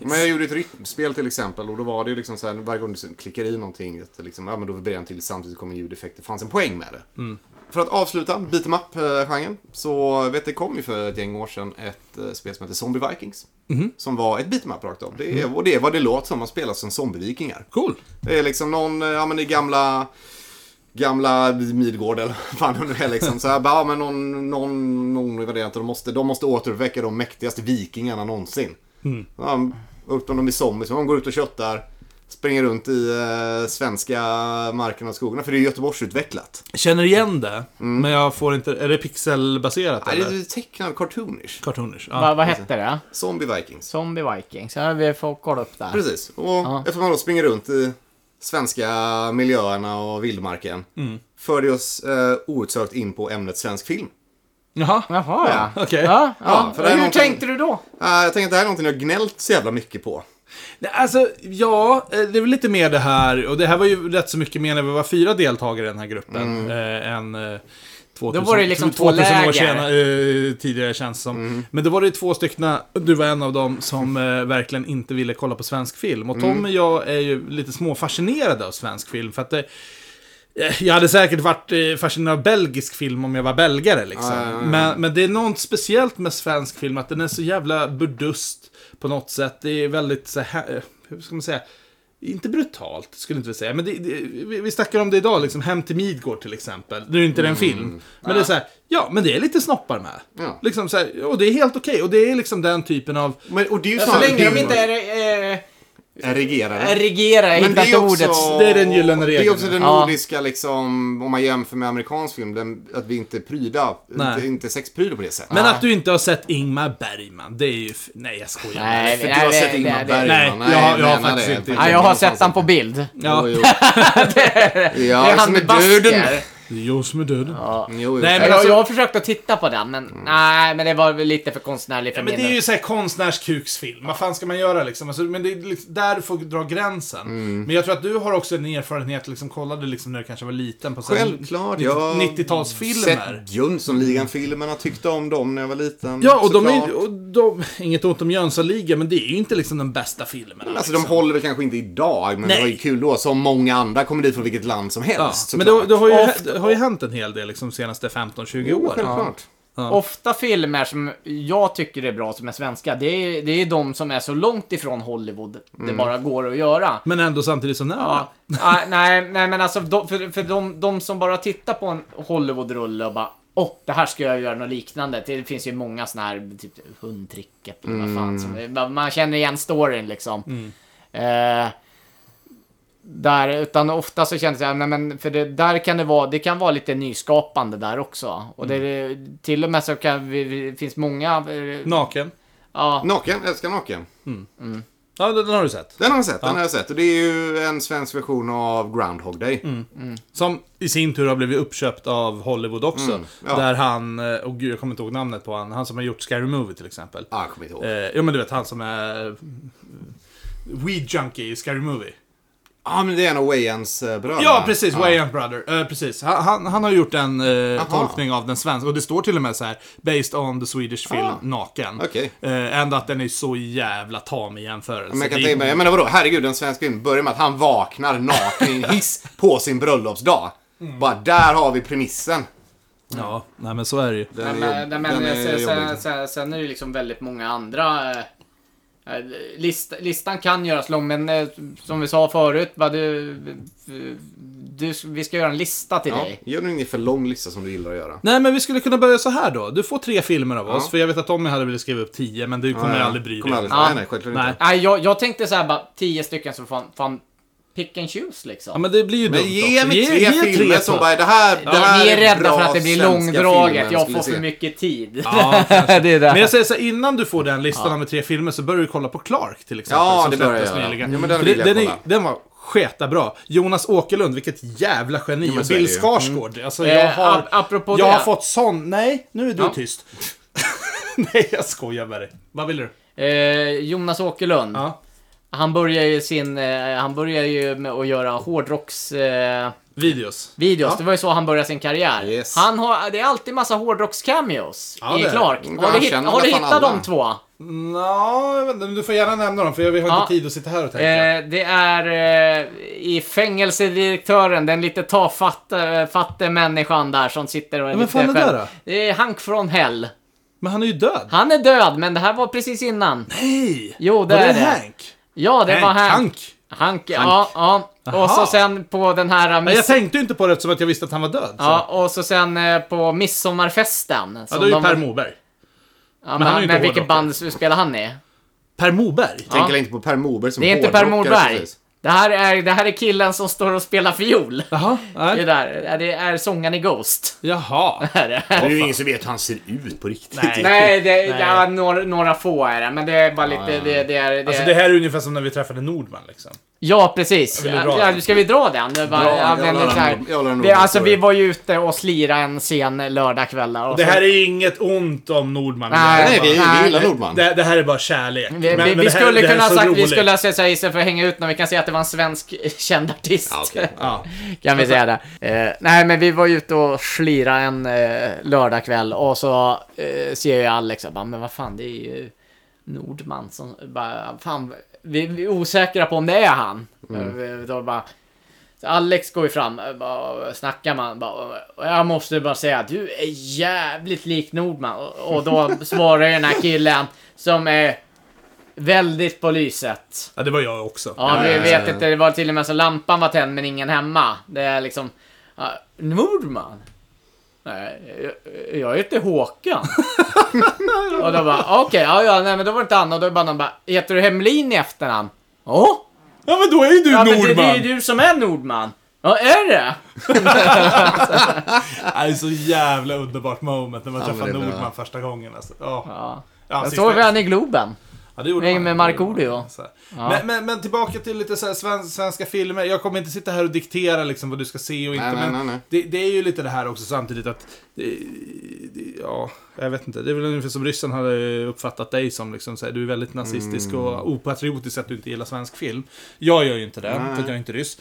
S3: Men jag gjorde ett rytmspel till exempel och då var det ju liksom så här varje gång du klickar i någonting att det liksom, ja men då vibrerar den till samtidigt kommer ljudeffekter. Det fanns en poäng med det. För att avsluta beat'em up-genren eh, så vet det kom ju för ett gäng år sedan ett eh, spel som heter Zombie Vikings. Som var ett beat'em up rakt av. Det, är- och det är vad det låter som man spelar som zombievikingar.
S1: Cool.
S3: Det är liksom någon, eh, ja men det är gamla, gamla Midgård eller vad fan det nu är liksom. Så här, bara, ja men någon, någon, någon variant. och De måste, de måste återuppväcka de mäktigaste vikingarna någonsin. Ja, upp om de är zombies, de går ut och köttar. Springer runt i eh, svenska markerna och skogarna. För det är Göteborgsutvecklat.
S1: Känner igen det, men jag får inte, är det pixelbaserat
S3: Mm. Nej, det
S1: eller?
S3: är tecknad, cartoonish.
S1: Cartoonish.
S2: Va,
S1: Ja.
S2: vad hette det?
S3: Zombie Vikings.
S2: Zombie Vikings. Ja, vi får kolla upp där.
S3: Precis, och eftersom man då springer runt i svenska miljöerna och vildmarken. För det oss eh, outsökt in på ämnet svensk film.
S1: Jaha.
S2: Jaha, ja.
S1: Ja, okej.
S2: Ja, ja.
S3: Ja, för det är
S2: Hur
S3: någonting-
S2: tänkte du då?
S3: Eh, jag tänker att det här är någonting jag gnällt så jävla mycket på.
S1: Nej, Alltså, ja, eh, det är väl lite mer det här, och det här var ju rätt så mycket mer när vi var fyra deltagare i den här gruppen. Eh, än, eh, 2000,
S2: Då var det liksom två
S1: 2000 år
S2: läger.
S1: senare, eh, tidigare känns det som. Men då var det ju två stycken, du var en av dem, som eh, verkligen inte ville kolla på svensk film. Och Tom och jag är ju lite småfascinerade av svensk film, för att det, eh, jag hade säkert varit eh, fascinerad av belgisk film om jag var belgare liksom. Men, men det är något speciellt med svensk film, att den är så jävla burdust på något sätt. Det är väldigt så här, eh, hur ska man säga? Inte brutalt, skulle jag inte säga. Men det, det, vi, vi snackar om det idag, liksom Hem till Midgård till exempel. Nu är inte det en film. Men det är så här, ja, men det är lite snoppar med.
S3: Ja.
S1: Liksom så här, och det är helt okej. Och det är liksom den typen av...
S3: Men, och det är ju
S2: Så länge de inte är... Eh,
S3: regerade.
S2: Erigera, jag
S3: Men det
S2: hittar
S3: är
S2: inte
S3: också-
S2: ordet.
S1: Det är den gyllene
S3: Det är också
S1: regeln.
S3: den
S2: Ja.
S3: nordiska, liksom, om man jämför med amerikansk film, den, att vi inte är pryda,
S1: Nej.
S3: inte, inte sexpryda på det sättet.
S1: Men att du inte har sett Ingmar Bergman, det är ju... f- Nej, jag skojar.
S2: Nej,
S3: För du
S2: nej,
S3: har
S2: nej,
S3: sett Ingmar
S2: nej,
S3: Bergman.
S1: nej. Nej, jag har- jag har faktiskt inte-
S2: nej, jag har sett han på bild.
S1: Ja.
S3: Ja, det är
S2: det är han
S3: som
S2: med
S3: är döden.
S2: basker.
S1: Det är jag som är döden.
S3: Jo,
S1: Nej,
S3: jo.
S2: Men
S1: men
S2: jag,
S1: alltså-
S2: jag har försökt att titta på den, men nej, men det var väl lite för konstnärligt för
S1: Ja,
S2: min
S1: men det är ju såhär konstnärskuksfilm. Vad fan ska man göra liksom? Alltså, men det är liksom där du får dra gränsen.
S3: Mm.
S1: Men jag tror att du har också en erfarenhet, liksom kollade liksom när du kanske var liten på så här
S3: Självklart,
S1: 90-
S3: jag-
S1: 90-talsfilmer.
S3: Sett Jönssonligan-filmerna, tyckte om dem när jag var liten.
S1: Ja, och de
S3: såklart.
S1: är och de, Inget ont om Jönssonligan, men det är ju inte liksom den bästa filmen.
S3: Alltså de
S1: liksom.
S3: håller väl kanske inte idag, men
S1: Nej.
S3: det var ju kul då. Som många andra kommer dit från vilket land som
S1: Ja,
S3: helst.
S1: men det,
S3: såklart.
S1: det, har ju, det har ju hänt en hel del liksom, de senaste 15-20
S3: Jo,
S1: åren.
S3: självklart.
S2: Ofta filmer som jag tycker är bra som är svenska, det är, det är de som är så långt ifrån Hollywood det bara går att göra.
S1: Men ändå samtidigt så nära.
S2: Ja. Ah, nej, nej, men alltså de, för, för de, de som bara tittar på en Hollywood-rulle och bara Åh, det här ska jag göra något liknande. Det finns ju många sådana här, typ hundtricket eller vad fan som, man- Man känner igen storyn liksom. Eh, där, utan ofta så känns det, ja, nej men för det, där kan det vara, det kan vara lite nyskapande där också. Och det, till och med så kan vi, vi, finns många, eh,
S1: Naken.
S2: ja,
S3: Naken, älskar Naken.
S1: Ja, den, den har du sett.
S3: Den har jag sett, den har jag sett. Och det är ju en svensk version av Groundhog Day.
S1: Mm. Som i sin tur har blivit uppköpt av Hollywood också.
S3: Mm, ja.
S1: Där han, eh, och gud jag kommer inte ihåg namnet på han, han som har gjort Scary Movie till exempel.
S3: Ah, jag kommer inte ihåg.
S1: Eh, ja men du vet han som är eh, weed junkie i Scary Movie.
S3: ah, men det är en av Wayans eh, bröder.
S1: Ja precis,
S3: Ah.
S1: Wayans Brother. Eh, precis. Han, han, han har gjort en eh,
S3: Aha.
S1: tolkning av den svenska, och det står till och med så här Based on the Swedish film Naken.
S3: Ah. Okej.
S1: Eh, ändå att den är så jävla tam i jämförelse.
S3: Men jag kan
S1: Det är-
S3: tänka mig, jag menar vadå, herregud, en svensk film börjar med att han vaknar naken i en hiss på sin bröllopsdag.
S1: Mm.
S3: Bara där har vi premissen.
S1: Ja, nej men så är det ju.
S3: Den
S2: Nej,
S3: är
S2: men, eh,
S3: jobb-
S2: nej, men
S3: den är
S2: sen, sen,
S3: jobbig.
S2: sen, sen är det ju liksom väldigt många andra... Eh, eh, list, listan kan göras lång, men eh, som vi sa förut, va, du, du, vi ska göra en lista till
S3: Ja,
S2: dig.
S3: gör du ingen för lång lista som du gillar att göra?
S1: Nej, men vi skulle kunna börja så här då. Du får tre filmer av oss,
S3: Ja.
S1: för jag vet att Tommy hade velat skriva upp tio, men du kommer aldrig bry
S3: Kommer
S1: dig.
S3: aldrig,
S2: Ja.
S3: Nej, nej, självklart
S1: Nej.
S3: inte.
S2: Nej, jag, jag tänkte så här bara, tio stycken så fan, fan pick and choose liksom.
S1: Ja, men det blir ju
S3: Men
S1: dumt
S3: ge
S1: också.
S3: mig tre filmer som
S1: så.
S3: bara, det här, det här
S2: vi är rädda
S3: bra
S2: för att det blir
S3: svenska
S2: långdraget,
S3: filmen,
S2: jag
S3: skulle
S2: får
S3: se.
S2: för mycket tid.
S1: Ja, kanske.
S2: det är
S1: Men jag
S2: det.
S1: säger så här, innan du får den listan med tre filmer så börjar du kolla på Clark till exempel.
S3: Ja,
S1: som
S3: det börjar jag
S1: släpptes
S3: göra.
S1: nyligen.
S3: Ja, men den
S1: För
S3: vill jag
S1: den, är-
S3: kolla.
S1: den var sketa bra. Jonas Åkerlund, vilket jävla geni.
S3: men
S1: och
S3: så är
S1: Bill
S3: det ju. Mm.
S1: Skarsgård. Alltså,
S2: Eh,
S1: jag har,
S2: ap- apropå
S1: jag
S2: det.
S1: har fått sån... Nej, nu är du
S2: Ja.
S1: tyst. Nej, jag skojar med dig. Vad vill du?
S2: Eh, Jonas Åkerlund.
S1: Ja.
S2: Han börjar ju sin, eh, han börjar ju med att göra hårdrocks... Eh,
S1: Videos.
S2: videos. Det var ju så han började sin karriär.
S3: Yes.
S2: Han har, det är alltid massa hårdrocks-cameos
S1: Ja, det
S2: i
S1: är det.
S2: Clark.
S3: Mm,
S2: Har du,
S3: han
S2: hitt,
S3: känner
S2: har du
S3: nästan
S2: hittat
S3: alla.
S2: de två?
S1: Nå, jag vet inte, men du får gärna nämna dem, för jag- vi har
S2: Ja.
S1: inte tid att sitta här och tänka.
S2: Eh, det är eh, i Fängelsedirektören, den lite tafatte eh, fatte människan där som sitter och är
S1: Men vem
S2: lite
S1: fan är det
S2: själv-
S1: då?
S2: Det är Hank från Hell.
S1: Men han är ju död.
S2: Han är död, men det här var precis innan.
S1: Nej!
S2: Jo, det
S1: Var
S2: är
S1: det
S2: det.
S1: Hank?
S2: Ja, det var Hank.
S1: Hank.
S2: Hank, ja. ja. Och så
S1: Aha.
S2: sen på den här...
S1: Nej, jag
S2: Miss...
S1: tänkte ju inte på det eftersom att jag visste att han var död. så.
S2: Ja, och så sen eh, på midsommarfesten.
S1: ja
S2: som
S1: det är ju
S2: de-
S1: Per Morberg.
S2: Ja, men
S1: han är ju
S2: han,
S1: inte
S2: men vilket
S1: hårdrockare.
S2: band spelar han i?
S1: Per Morberg?
S2: Ja.
S3: Tänker inte på Per Morberg som
S2: Det är inte Per
S3: hårdrockare,
S2: Morberg.
S3: precis.
S2: Det här, är, det här är killen som står och spelar fiol.
S1: Jaha,
S2: Det,
S1: nej.
S2: där, Ja, det är sångaren i Ghost.
S1: Jaha.
S2: Det är det.
S6: Det är ju ingen som vet hur han ser ut på riktigt.
S2: Nej, det, Ja, några, några få är det, men det är bara lite... Det, det är, det,
S1: Alltså det här är ungefär som när vi träffade Nordman liksom.
S2: Ja, precis.
S1: vill dra
S2: ja,
S1: den.
S2: ska vi dra den? Det var,
S3: Dra den,
S2: ja,
S3: jag
S2: men
S3: la den
S2: det är så här-
S3: nog- jag la den
S2: vi,
S3: nog
S2: alltså,
S3: före.
S2: vi var ju ute och slirade en sen lördagkvällar. och
S1: Det
S2: så-
S1: här är inget ont om Nordman.
S2: Nej,
S1: Det
S3: Nej,
S1: här
S3: vi,
S1: är
S3: vi
S2: Nej.
S3: gillar
S1: bara-
S3: Nordman.
S1: det, det här är bara kärlek.
S2: Vi,
S1: Men-
S2: vi,
S1: men
S2: vi
S1: det här-
S2: skulle
S1: det här
S2: kunna
S1: är
S2: ha
S1: så
S2: sagt, vi
S1: roligt.
S2: skulle ha sagt så här, istället för att hänga ut när vi kan säga att det var en svensk känd artist.
S3: Ja, okej.
S1: Ja.
S2: Kan vi säga det. Eh, nej, men vi var ju ute och slira en eh, lördagkväll och så eh, ser jag Alex och bara, men vad fan, det är ju Nordman som bara, fan, vi, vi är osäkra på om det är han. Eh, Då bara, så Alex går ju fram eh, bara, och snackar med han, bara, och Jag måste bara säga att du är jävligt lik Nordman. Och, och då svarar ju den här killen som är väldigt på lyset.
S1: ja, det var jag också.
S2: Ja, vi vet inte. Det var till och med så lampan var tänd men ingen hemma. Det är liksom... ja, Nordman? Nej, jag- jag heter Håkan. och då bara, "Ah, okej, ja, ja, nej men då var det inte han. Och då bara någon bara, heter du Hemlin i efternamn? Ja.
S1: Ja, men då är ju du
S2: Ja, men det, det är
S1: Nordman!
S2: ju du som är Nordman. Ja, är det?
S1: Det är så jävla underbart moment när man
S3: men
S1: träffar
S3: det är bra.
S1: Nordman första gången alltså. Ja.
S2: Ja.
S1: Ja,
S2: Jag
S1: sista-
S2: såg han i Globen.
S1: Ja, det gjorde
S2: Nej,
S1: man.
S2: men Markoolio.
S1: Så här. Men, men, men tillbaka till lite så här sven- svenska filmer. Jag kommer inte sitta här och diktera liksom vad du ska se och inte.
S3: Nej, nej,
S1: men
S3: nej, nej.
S1: Det, det är ju lite det här också samtidigt att... Det, det, ja, jag vet inte. Det är väl ungefär som ryssen hade uppfattat dig som. Liksom, så här, du är väldigt nazistisk
S3: Mm.
S1: och opatriotisk att du inte gillar svensk film. Jag gör ju inte det, för att jag är inte ryss.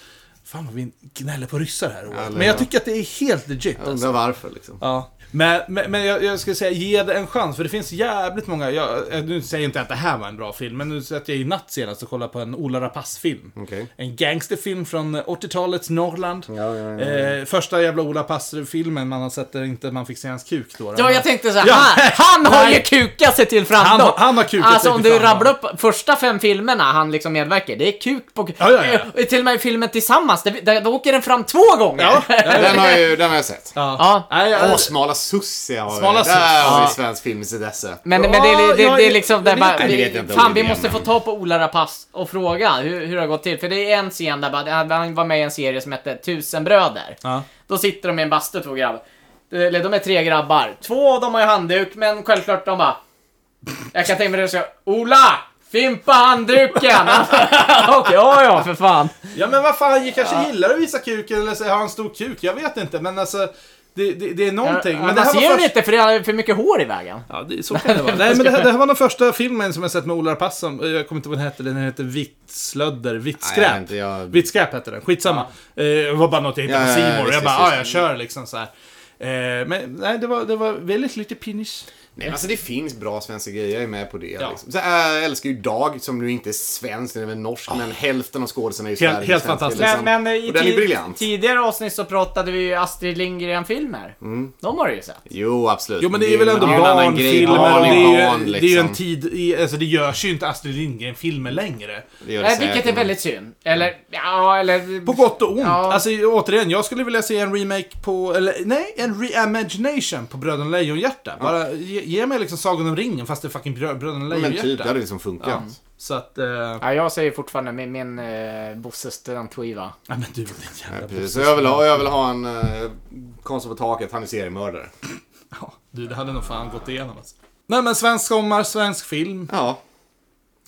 S1: Fan vad vi gnäller på ryssar här året.
S3: Eller
S1: Men jag
S3: hur?
S1: tycker att det är helt legit.
S3: Jag
S1: Alltså.
S3: undrar varför liksom.
S1: Ja. Men, men, men jag, jag skulle säga, ge det en chans, för det finns jävligt många, jag, jag- nu säger jag inte att det här var en bra film, men nu satt jag i natt senast och kollade på en Ola Rapace-film.
S3: Okej.
S1: En gangsterfilm från 80-talets Norrland.
S3: Ja, ja, ja.
S1: Eh, första jävla Ola Rapace-filmen man har sett där inte man fick se hans kuk då.
S2: Ja,
S1: Men-
S2: jag tänkte så här,
S1: Ja.
S2: han, han har ju
S1: Nej.
S2: kukat sig till
S1: Han
S2: framgång.
S1: har- han har kukat
S2: Alltså
S1: sig
S2: om
S1: till
S2: du
S1: framgång.
S2: rabblar upp första fem filmerna han liksom medverkar det är kuk på kuk.
S1: Ja, ja, ja.
S2: Eh, Till och med filmen Tillsammans, där, vi- där, där åker den fram två gånger.
S1: Ja,
S3: Den har, ju, den har jag sett.
S1: ja.
S2: Ja.
S1: Nej, jag-
S3: Åh, Smala Sussie har vi.
S1: Smala
S3: Där har
S1: Sussie.
S3: vi svensk films intresse.
S2: Men,
S1: Ja,
S2: men det, är- det, det,
S1: jag-
S2: det är liksom där
S1: jag
S2: bara,
S1: vet
S2: vi-
S6: inte om det
S2: Fan,
S6: är
S2: vi
S6: det,
S2: måste
S6: men-
S2: få ta på Ola Rapace och fråga hur, hur det har gått till. För det är en scen där bara, han var med i en serie som hette Tusen bröder.
S1: Ja.
S2: Då sitter de i en bastu, två grabbar. Eh, Eller de är tre grabbar. Två av dem har ju handduk, men självklart de bara... Jag kan tänka mig det så Ola! Fimpa handduken! Okej, ja ja, för fan.
S1: Ja men vad fan, jag kanske gillar att visa kuken eller så har han stor kuk, jag vet inte. Men alltså, det, det, det är någonting. men
S2: men
S1: det
S2: man
S1: här var
S2: ser den
S1: först-
S2: inte för det är för mycket hår i vägen.
S1: Ja, det, så kan det vara. Nej, men det här, det här var den första filmen som jag sett med Ola Rapace som, jag kommer inte ihåg vad den hette, den hette Vitt slödder, Vitt
S3: Nej,
S1: skräp.
S3: jag vet inte, jag-
S1: Vitt skräp hette den, skitsamma. Eh, Det var bara något jag hittade
S3: Ja,
S1: på C
S3: ja, ja,
S1: More.
S3: visst,
S1: jag bara,
S3: visst,
S1: ja, jag
S3: visst."
S1: kör liksom så här. Eh, Men nej, det var, det var väldigt lite pinnis.
S3: Nej, men alltså det finns bra svenska grejer, jag är med på det.
S1: Ja.
S3: Liksom. Så, äh, jag älskar ju Dag, som nu inte är svensk, den är väl norsk, men hälften av skådisarna är ju
S1: Helt-
S3: Sverige,
S1: helt
S3: svenska,
S1: fantastiskt.
S3: liksom.
S2: Men, eh, men i
S3: och den är
S2: tid-
S3: briljant.
S2: tidigare avsnitt så pratade vi ju Astrid Lindgren-filmer.
S3: Mm.
S2: De har du ju sett.
S3: Jo, absolut.
S1: Jo, men det är väl ändå
S3: en annan grej.
S1: barnfilmer
S3: Barn
S1: och det
S3: är
S1: är, ju,
S3: barn,
S1: det är ju en
S3: liksom.
S1: tid, i, alltså det görs ju inte Astrid Lindgren-filmer längre.
S3: Det gör det
S2: Nej,
S3: säkert,
S2: Eh,
S3: Mm.
S2: vilket är
S3: men-
S2: väldigt synd. Eller, ja, eller...
S1: På gott och ont.
S2: Ja.
S1: Alltså återigen, jag skulle vilja se en remake på, eller nej, en reimagination på Bröderna Lejonhjärta. Bara ge, ge mig liksom Sagan om ringen fast det är fucking Brö- Bröderna
S3: Men typ,
S1: Lejonhjärta.
S3: det hade liksom funkat.
S1: Så att, eh, ja
S2: Ja, jag säger fortfarande min, min eh, Bosse Student-skiva.
S1: men du din jävla
S3: Ja, precis. Så jag vill ha, jag vill ha en uh, konst på taket, han är seriemördare.
S1: Ja, du det hade nog fan gått igenom alltså. Nej men svensk sommar, svensk film.
S3: Ja,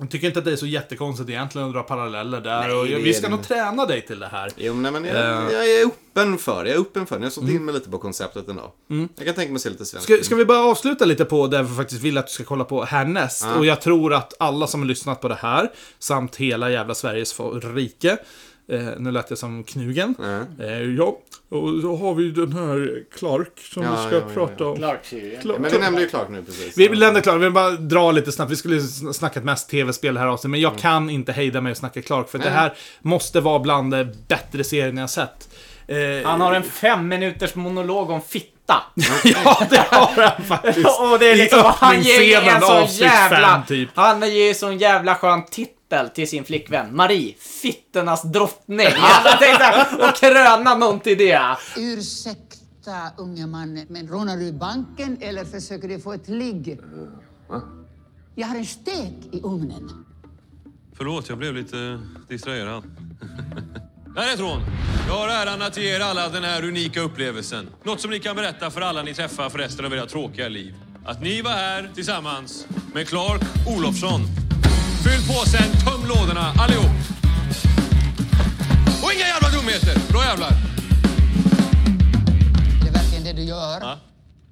S1: Jag tycker inte att det är så jättekonstigt egentligen att dra paralleller där.
S3: Nej,
S1: och
S3: det
S1: vi
S3: är
S1: ska
S3: det
S1: nog
S3: inte.
S1: träna dig till det här.
S3: jo, nej, men jag,
S1: Eh.
S3: jag är öppen för det. Jag är öppen för det. Jag har sålt in mig lite på konceptet ändå. Jag kan tänka mig att se lite svenskt.
S1: Mm. Ska, ska vi bara avsluta lite på det vi faktiskt vill att du ska kolla på härnäst? Och jag tror att alla som har lyssnat på det här, samt hela jävla Sveriges fo- rike, eh, nu lät jag som Knugen. Eh, ja, och då har vi ju den här Clark som
S3: Ja,
S1: vi ska
S3: ja, ja,
S1: prata om.
S2: Clark Syrien.
S1: Clark.
S3: Men vi nämnde ju klart nu precis.
S1: Vi lämnar Clark, vi vill bara dra lite snabbt. Vi skulle sn- snackat mest tv-spel här avsnittet, men jag
S3: Mm.
S1: kan inte hejda mig och snacka Clark. För det här måste vara bland de bättre serierna jag sett. Eh,
S2: Han har en fem minuters monolog om fitta.
S1: ja, det har han faktiskt.
S2: och det är
S1: I
S2: liksom, han ger ju en
S1: öppningsscenen,
S2: sån
S1: avsnitt
S2: jävla...
S1: fem, typ.
S2: Han ger ju sån jävla skön titel till sin flickvän. Marie, fitternas drottning. Alla tänkte såhär, och kröna någon till det.
S7: Ursäkta, unge man, men rånar du banken eller försöker du få ett ligg? Jag har en stek i ugnen.
S8: Förlåt, jag blev lite distraherad. Här är trån. Jag har äran att ge er alla den här unika upplevelsen. Något som ni kan berätta för alla ni träffar för resten av era tråkiga liv. Att ni var här tillsammans med Clark Olofsson. Fyll påsen, töm lådorna allihop. Och inga jävla dumheter. Bra jävlar.
S7: Det är verkligen det du gör.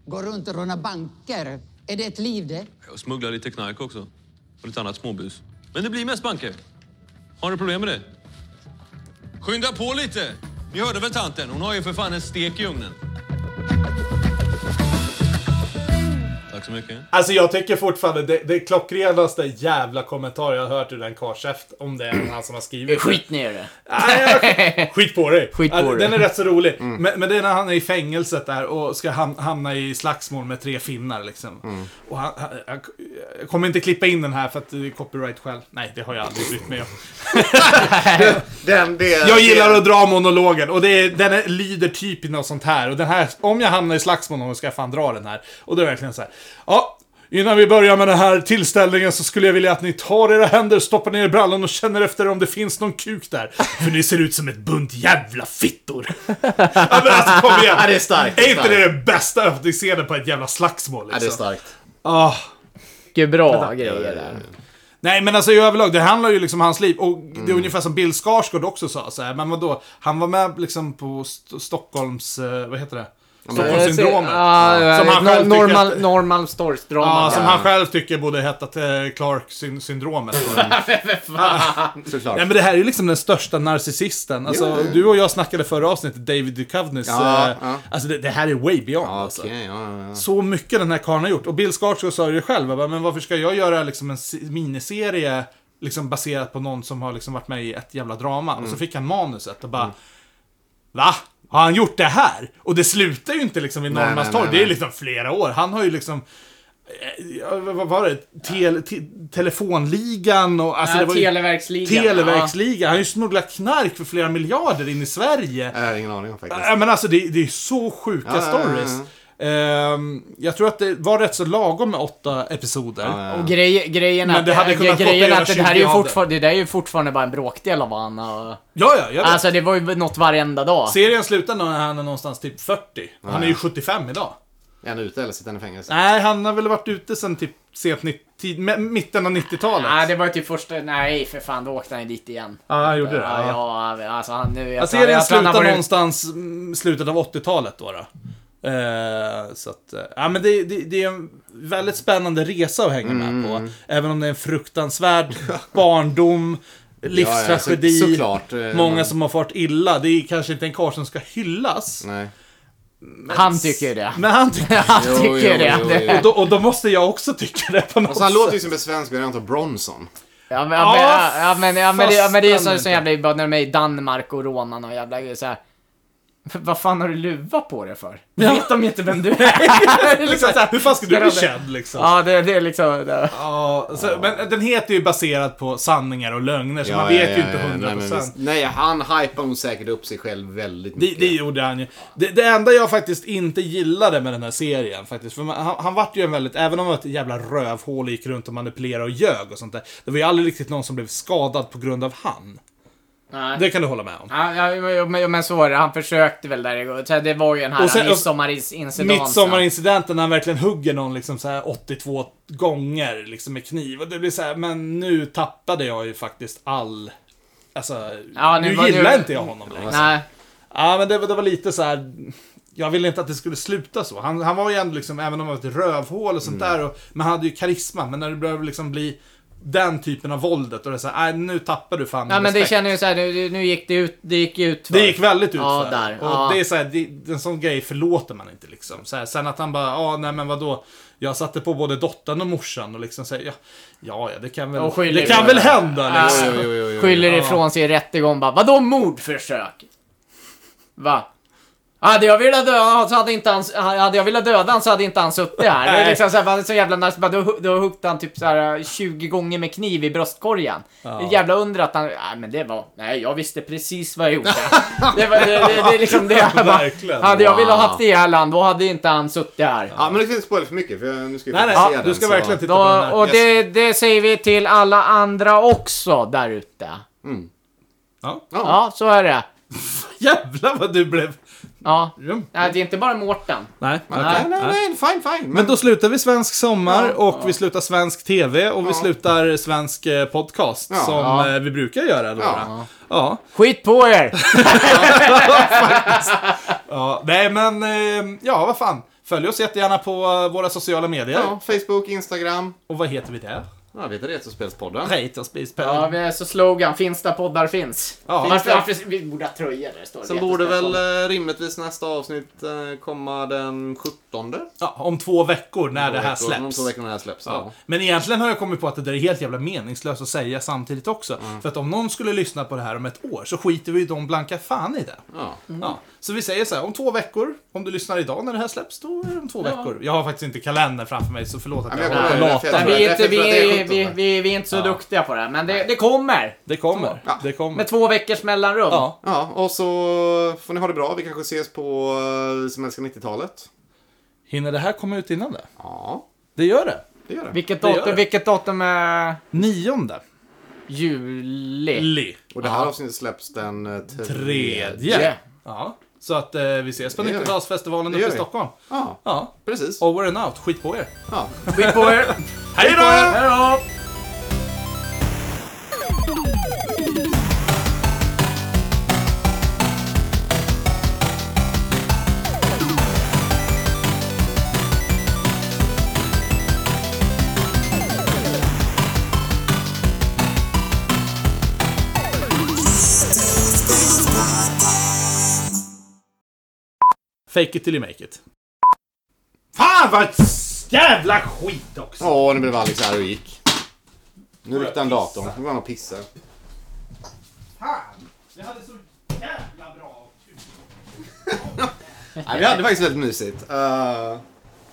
S7: Går runt och rånar banker. Är det ett liv det?
S8: Jag smugglar lite knark också. Och lite annat småbus. Men det blir mest banker. Har du problem med det? Skynda på lite! Ni hörde väl tanten? Hon har ju för fan en stek i ugnen. Tack så mycket.
S1: Alltså jag tycker fortfarande det, det klockrenaste jävla kommentar jag har hört ur den karlsäft om det är han som har skrivit
S2: Skit ner i det.
S1: Nej, jag- Skit på dig.
S2: Skit på
S1: Ja,
S2: dig. Mm.
S1: Den är rätt så rolig. Men, men det är när han är i fängelset där och ska ham- hamna i slagsmål med tre finnar liksom.
S2: Mm.
S1: Och han, han, jag, jag kommer inte klippa in den här för att det är copyright själv. Nej, det har jag aldrig brytt mig om.
S3: Den, det,
S1: Jag gillar att dra monologen och det är, den är, lyder typ i något sånt här. Och den här, om jag hamnar i slagsmål någon gång ska jag fan dra den här. Och då är det verkligen så här. Ja, innan vi börjar med den här tillställningen så skulle jag vilja att ni tar era händer, stoppar ner i brallan och känner efter om det finns någon kuk där. För ni ser ut som ett bunt jävla fittor. ja, men alltså kom igen.
S3: Ja, det är starkt.
S1: Är inte det den bästa öppningsscenen på ett jävla slagsmål liksom?
S3: Ja, det är starkt.
S1: Ah.
S2: Mycket bra grejer där.
S1: Nej men alltså i överlag, det handlar ju liksom om hans liv. Och det är ungefär som Bill Skarsgård också sa så här, men vadå? Han var med liksom på St- Stockholms, eh, vad heter det? Stockholmssyndromet.
S2: Eh, Ja,
S1: Som han själv tycker
S2: normal,
S1: att-
S2: Norrmalmstorgsdrama.
S1: Ja, som han själv tycker borde hetat eh, Clark-syndromet.
S3: Såklart.
S1: Nej men det här är ju liksom den största narcissisten. Alltså, Du och jag snackade förra avsnittet, David Duchovnys.
S3: Ja,
S1: eh,
S3: ja.
S1: Alltså det, det här är way beyond. Alltså.
S3: Okej, ja, ja, ja.
S1: Så mycket den här karln har gjort. Och Bill Skarsgård sa ju det själv, jag bara, men varför ska jag göra liksom en si- miniserie liksom baserat på någon som har liksom varit med i ett jävla drama? Och
S3: Mm.
S1: så fick han manuset och bara... Va? Har han gjort det här? Och det slutar ju inte liksom vid
S3: Nej, nej,
S1: Norrmalmstorg,
S3: nej,
S1: det är
S3: nej.
S1: liksom flera år. Han har ju liksom... eh, ja, Vad var det? Tel, te, telefonligan och... Alltså det var ju-
S2: Televerksligan.
S1: Televerksliga. Han har ju smugglat knark för flera miljarder in i Sverige.
S3: Jag har ingen aning om faktiskt.
S1: Ja, men alltså det, det är så sjuka
S3: Ja, ja, ja,
S1: stories. Ehm, jag tror att det var rätt så lagom med åtta episoder.
S2: Ja. Och grej, grejen
S1: Men
S2: att,
S1: det hade kunnat
S2: grejen
S1: fått
S2: att det här
S1: 20
S2: är ju
S1: av det.
S2: fortfarande, det där är ju fortfarande bara en bråkdel av vad han har...
S1: Ja, ja, jag vet.
S2: Alltså det var ju något varenda dag.
S1: Serien slutar när han är någonstans typ 40. Han är ju
S3: ja.
S1: 75 idag.
S3: Är han ute eller sitter han i fängelse?
S1: Nej, han har väl varit ute sen typ sent 90, tid- me- mitten av 90-talet.
S2: Nej, det var ju typ första... Nej, för fan, då åkte han ju dit igen.
S1: Ja, han gjorde det.
S2: Ja,
S1: Ja.
S2: ja alltså han... Nu, jag
S1: Ja,
S2: tror-
S1: serien
S2: jag tror han har
S1: slutar
S2: varit-
S1: någonstans mm, slutet av 80-talet då. då. Eh, så att, eh, ja men det, det, det är en väldigt spännande resa att hänga med
S3: Mm.
S1: på. Även om det är en fruktansvärd barndom, livstragedi,
S3: Ja, ja, så- såklart, eh,
S1: många
S3: men-
S1: som har fått illa. Det är kanske inte en karl som ska hyllas.
S3: Nej.
S2: Han tycker ju det.
S1: Men han tycker
S2: Han
S3: Jo,
S2: tycker
S3: jo,
S2: det.
S3: jo,
S2: Det-
S3: jo.
S1: och, då, och då måste jag också tycka det på något
S3: Alltså han
S1: sätt.
S3: låter ju som en svensk variant av Bronson.
S2: Ja men, ja, men,
S1: Ja,
S2: ja, men, ja, men, det- ja, men det är ju
S1: fast
S2: så, så jävla bara när de är i Danmark och rånar och jävla så här. Vad fan har du luva på dig för? Vet de inte vem du är? liksom så här,
S1: Hur fan ska du
S2: ska
S1: bli
S2: de-
S1: känd liksom?
S2: Ja, det, det är liksom... Det.
S1: Ja, så, men den heter ju baserad på sanningar och lögner, så man vet ju inte 100%.
S3: nej, men visst. nej, han hypar nog säkert upp sig själv väldigt
S1: Det,
S3: mycket.
S1: det gjorde han ju. Det, det enda jag faktiskt inte gillade med den här serien faktiskt, för man, han, han vart ju en väldigt, även om han var ett jävla rövhål och gick runt och manipulerade och ljög och sånt där. Det var ju aldrig riktigt någon som blev skadad på grund av han.
S2: Nej.
S1: Det kan du hålla med om.
S2: Ja, ja, jo, men, jo, men så var det. Han försökte väl där igår. Så Det var ju den
S1: Och sen-
S2: här
S1: och-
S2: midsommarincidenten.
S1: Midsommarincidenten när han verkligen hugger någon liksom så här 82 gånger liksom med kniv. Och det blir så här, men nu tappade jag ju faktiskt all... Alltså,
S2: Ja,
S1: nu,
S2: nu var-
S1: gillar
S2: nu-
S1: inte jag honom längre.
S2: Nej.
S1: Ja, men det, var- det var lite så här. Jag ville inte att det skulle sluta så. Han, han var ju ändå liksom, även om han var ett rövhål och sånt
S3: Mm.
S1: där, och, men han hade ju karisma. Men när det började liksom bli den typen av våldet, och det är så här, nej nu tappar du fan
S2: Ja, men det
S1: respekt."
S2: känner ju så här, nu, nu gick det ut, det gick ju ut för.
S1: Det gick väldigt ut
S2: Ja,
S1: för.
S2: där.
S1: Och
S2: Ja.
S1: det är så här, det, en sån grej förlåter man inte liksom. Så här, sen att han bara, ja nej men vadå. Jag satte på både dottern och morsan och liksom säger ja, ja, ja det kan väl,
S2: Och skyller
S1: det kan
S2: på
S1: väl
S2: det.
S1: hända liksom.
S3: Jo, jo, jo, jo, jo.
S2: Skyller ifrån sig i rättegång bara. Vadå mordförsök? Va? Hade jag velat döda honom så hade inte han, hade jag velat döda honom så hade inte han suttit här. Det är
S1: Nej.
S2: liksom så här, bara så jävla nice. Bara, Då, då huggde han typ så här 20 gånger med kniv i bröstkorgen. Det jävla under att han, nej men det var, nej jag visste precis vad jag gjorde. det, var, det, det, det är liksom det. jag bara,
S1: Verkligen.
S2: hade jag velat
S3: Wow.
S2: haft det här land, då hade inte han suttit här.
S3: Ja, men du ska inte spoila för mycket för jag, nu ska jag
S1: Nej, nej,
S3: faktiskt se
S1: du ska
S3: den, så-
S1: verkligen titta på den
S2: Då,
S1: här.
S2: och det, det säger vi till alla andra också där ute.
S1: Ja.
S2: Ja, så är det.
S1: Jävlar vad du blev...
S2: Ja.
S1: Ja.
S2: Nej, det är inte bara Mårten.
S1: Nej, okej.
S3: Nej, nej, nej, fine, fine.
S1: Men då slutar vi svensk sommar och vi slutar svensk TV och vi slutar svensk eh, podcast som
S2: Ja.
S1: eh, vi brukar göra. Då. Ja.
S3: Ja.
S1: Ja.
S2: Skit på er!
S1: ja. Nej men, eh, ja vad fan. Följ oss jättegärna på eh, våra sociala medier.
S3: Ja, Facebook, Instagram.
S1: Och vad heter vi där?
S3: Ja, vi heter Retrospelspodden.
S1: Rate oss, please,
S2: Ja,
S1: ja,
S2: vi är så slogan, finns där poddar finns.
S1: Ja.
S2: Varför, varför, vi borde ha tröjor där det står.
S3: Sen borde väl eh, rimligtvis nästa avsnitt eh, komma den 17.
S1: om två veckor när det här
S3: Två veckor- Om
S1: släpps.
S3: två veckor när det här släpps. Ja.
S1: Men egentligen har jag kommit på att det där är helt jävla meningslöst att säga samtidigt också.
S3: Mm.
S1: För att om någon skulle lyssna på det här om ett år så skiter vi i de blanka fan i det.
S3: Ja.
S1: Ja, så vi säger så här, om två veckor, om du lyssnar idag när det här släpps, då är det om två veckor. Jag har faktiskt inte kalendern framför mig, så förlåt att
S3: Nej,
S1: jag
S3: men jag
S1: håller på
S3: kommer ihåg
S1: lata.
S3: det,
S2: Nej,
S3: för
S2: vi, är inte,
S3: Därför tror
S2: vi,
S3: jag
S2: är,
S3: att det är
S2: vi,
S3: 17.
S2: vi, vi är inte så duktiga på det här, men det, det kommer.
S1: Det kommer.
S3: Ja.
S1: Det kommer.
S2: Med två veckors mellanrum.
S1: Ja.
S3: Ja, och så får ni ha det bra. Vi kanske ses på eh, Som älskar 90-talet.
S1: Hinner det här komma ut innan det?
S3: Ja,
S1: Det gör det.
S3: det gör det.
S2: Vilket
S1: Det gör
S2: datum,
S1: det.
S2: vilket datum är
S1: Nionde.
S2: juli?
S1: Li.
S3: Och det här avsnittet släpps den eh, tredje.
S1: Tredje.
S2: Ja.
S1: Ja. Så att eh, vi ses på
S3: Det gör vi.
S1: 90-talsfestivalen
S3: Det
S1: uppe
S3: gör
S1: i
S3: vi.
S1: Stockholm.
S3: Ja,
S1: Ja.
S3: precis.
S1: Over and out. Skit på er.
S3: Ja.
S2: Skit på er!
S1: Hej då!
S2: Hej då!
S1: Fake it till you make it. Fan vad jävla skit också!
S3: Åh, nu blev Alex arg och gick. Nu ryckte han datorn. Nu går han och pissar.
S1: Vi hade så jävla bra.
S3: Nej, vi hade faktiskt väldigt mysigt. Uh,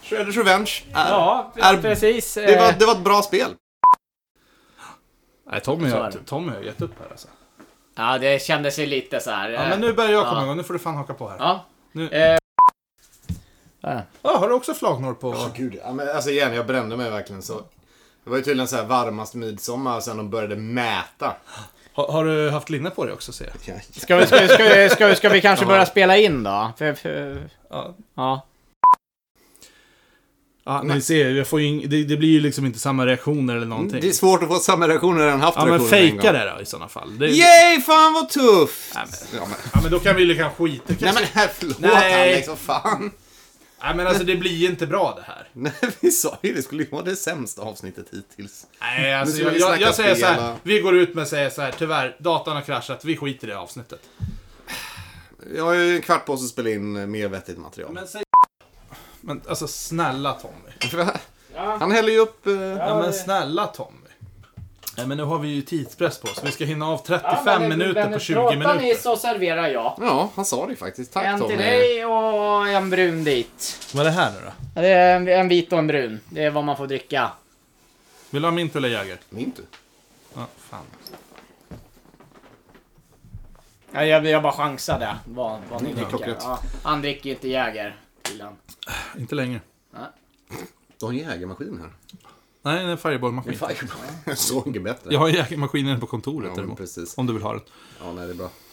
S3: Shredders Revenge är,
S2: Ja,
S3: är,
S2: precis. eh,
S3: det, var, det var ett bra spel.
S1: Nej, Tommy,
S2: Så är
S1: har-
S2: det.
S1: Tommy har gett upp här alltså.
S2: Ja, det kändes ju lite så här. eh,
S1: Äh, Ja, men nu börjar jag komma igång. Nu får du fan haka på här. Ja,
S2: Ja.
S1: Nu-
S2: Eh,
S1: har du också flagnor på?
S3: Åh gud, ja, men, alltså igen, jag brände mig verkligen så. Det var ju tydligen så här varmaste midsommar sen de började mäta.
S1: Har, har du haft linne på dig också ser jag?
S2: ska, vi, ska, vi, ska, vi, ska, vi, ska vi kanske börja spela in då? För, för,
S1: Ja.
S2: ja.
S1: Ja, ni ser, jag får ju ing- det, det blir ju liksom inte samma reaktioner eller någonting.
S3: Det är svårt att få samma reaktioner när den haft
S1: ja, men
S3: reaktioner en
S1: fejka
S3: gång.
S1: det då i sådana fall. Det,
S3: Yay, fan vad tufft!
S1: Nej,
S3: Ja, men,
S1: Ja, men då kan vi ju kanske skita.
S3: nej men här, förlåt
S1: Nej.
S3: Alex, vad fan.
S1: Nej, men alltså det blir ju inte bra det här.
S3: Nej, vi sa ju det skulle ju vara det sämsta avsnittet hittills.
S1: Nej, alltså
S3: Nu ska
S1: jag,
S3: vi
S1: jag,
S3: snacka
S1: jag säger så här.
S3: spela.
S1: Vi går ut med att säga så här. Tyvärr, datorn har kraschat. Vi skiter i det avsnittet.
S3: Jag har ju en kvart på oss att spela in eh, mer vettigt material.
S1: Men säg... Men alltså snälla Tommy.
S3: Han häller ju upp... eh,
S1: Ja, men snälla Tommy. Nej, men nu har vi ju tidspress på oss. Vi ska hinna av 35 minuter på 20 minuter.
S2: ni så serverar jag.
S3: Ja, han sa det faktiskt. Tack
S2: En
S3: Tommy.
S2: till dig och en brun dit.
S1: Vad är det här nu då?
S2: Ja, Det är en, en vit och en brun. Det är vad man får dricka.
S1: Vill du ha mint eller Jäger?
S3: Min tur.
S1: Ja, fan.
S2: Ja, jag, jag bara chansade vad, vad ni
S3: Det är
S2: dricker.
S3: klockrent.
S2: Ja, han dricker ju inte Jäger. killen.
S1: Inte längre.
S3: Du har en jägarmaskin här.
S1: Nej, det är en fireballmaskin.
S3: Fireball. Såg bättre.
S1: Jag har jägarmaskinen på kontoret
S3: Ja, men
S1: däremot.
S3: precis.
S1: Om du vill ha den.
S3: Ja, nej det är bra.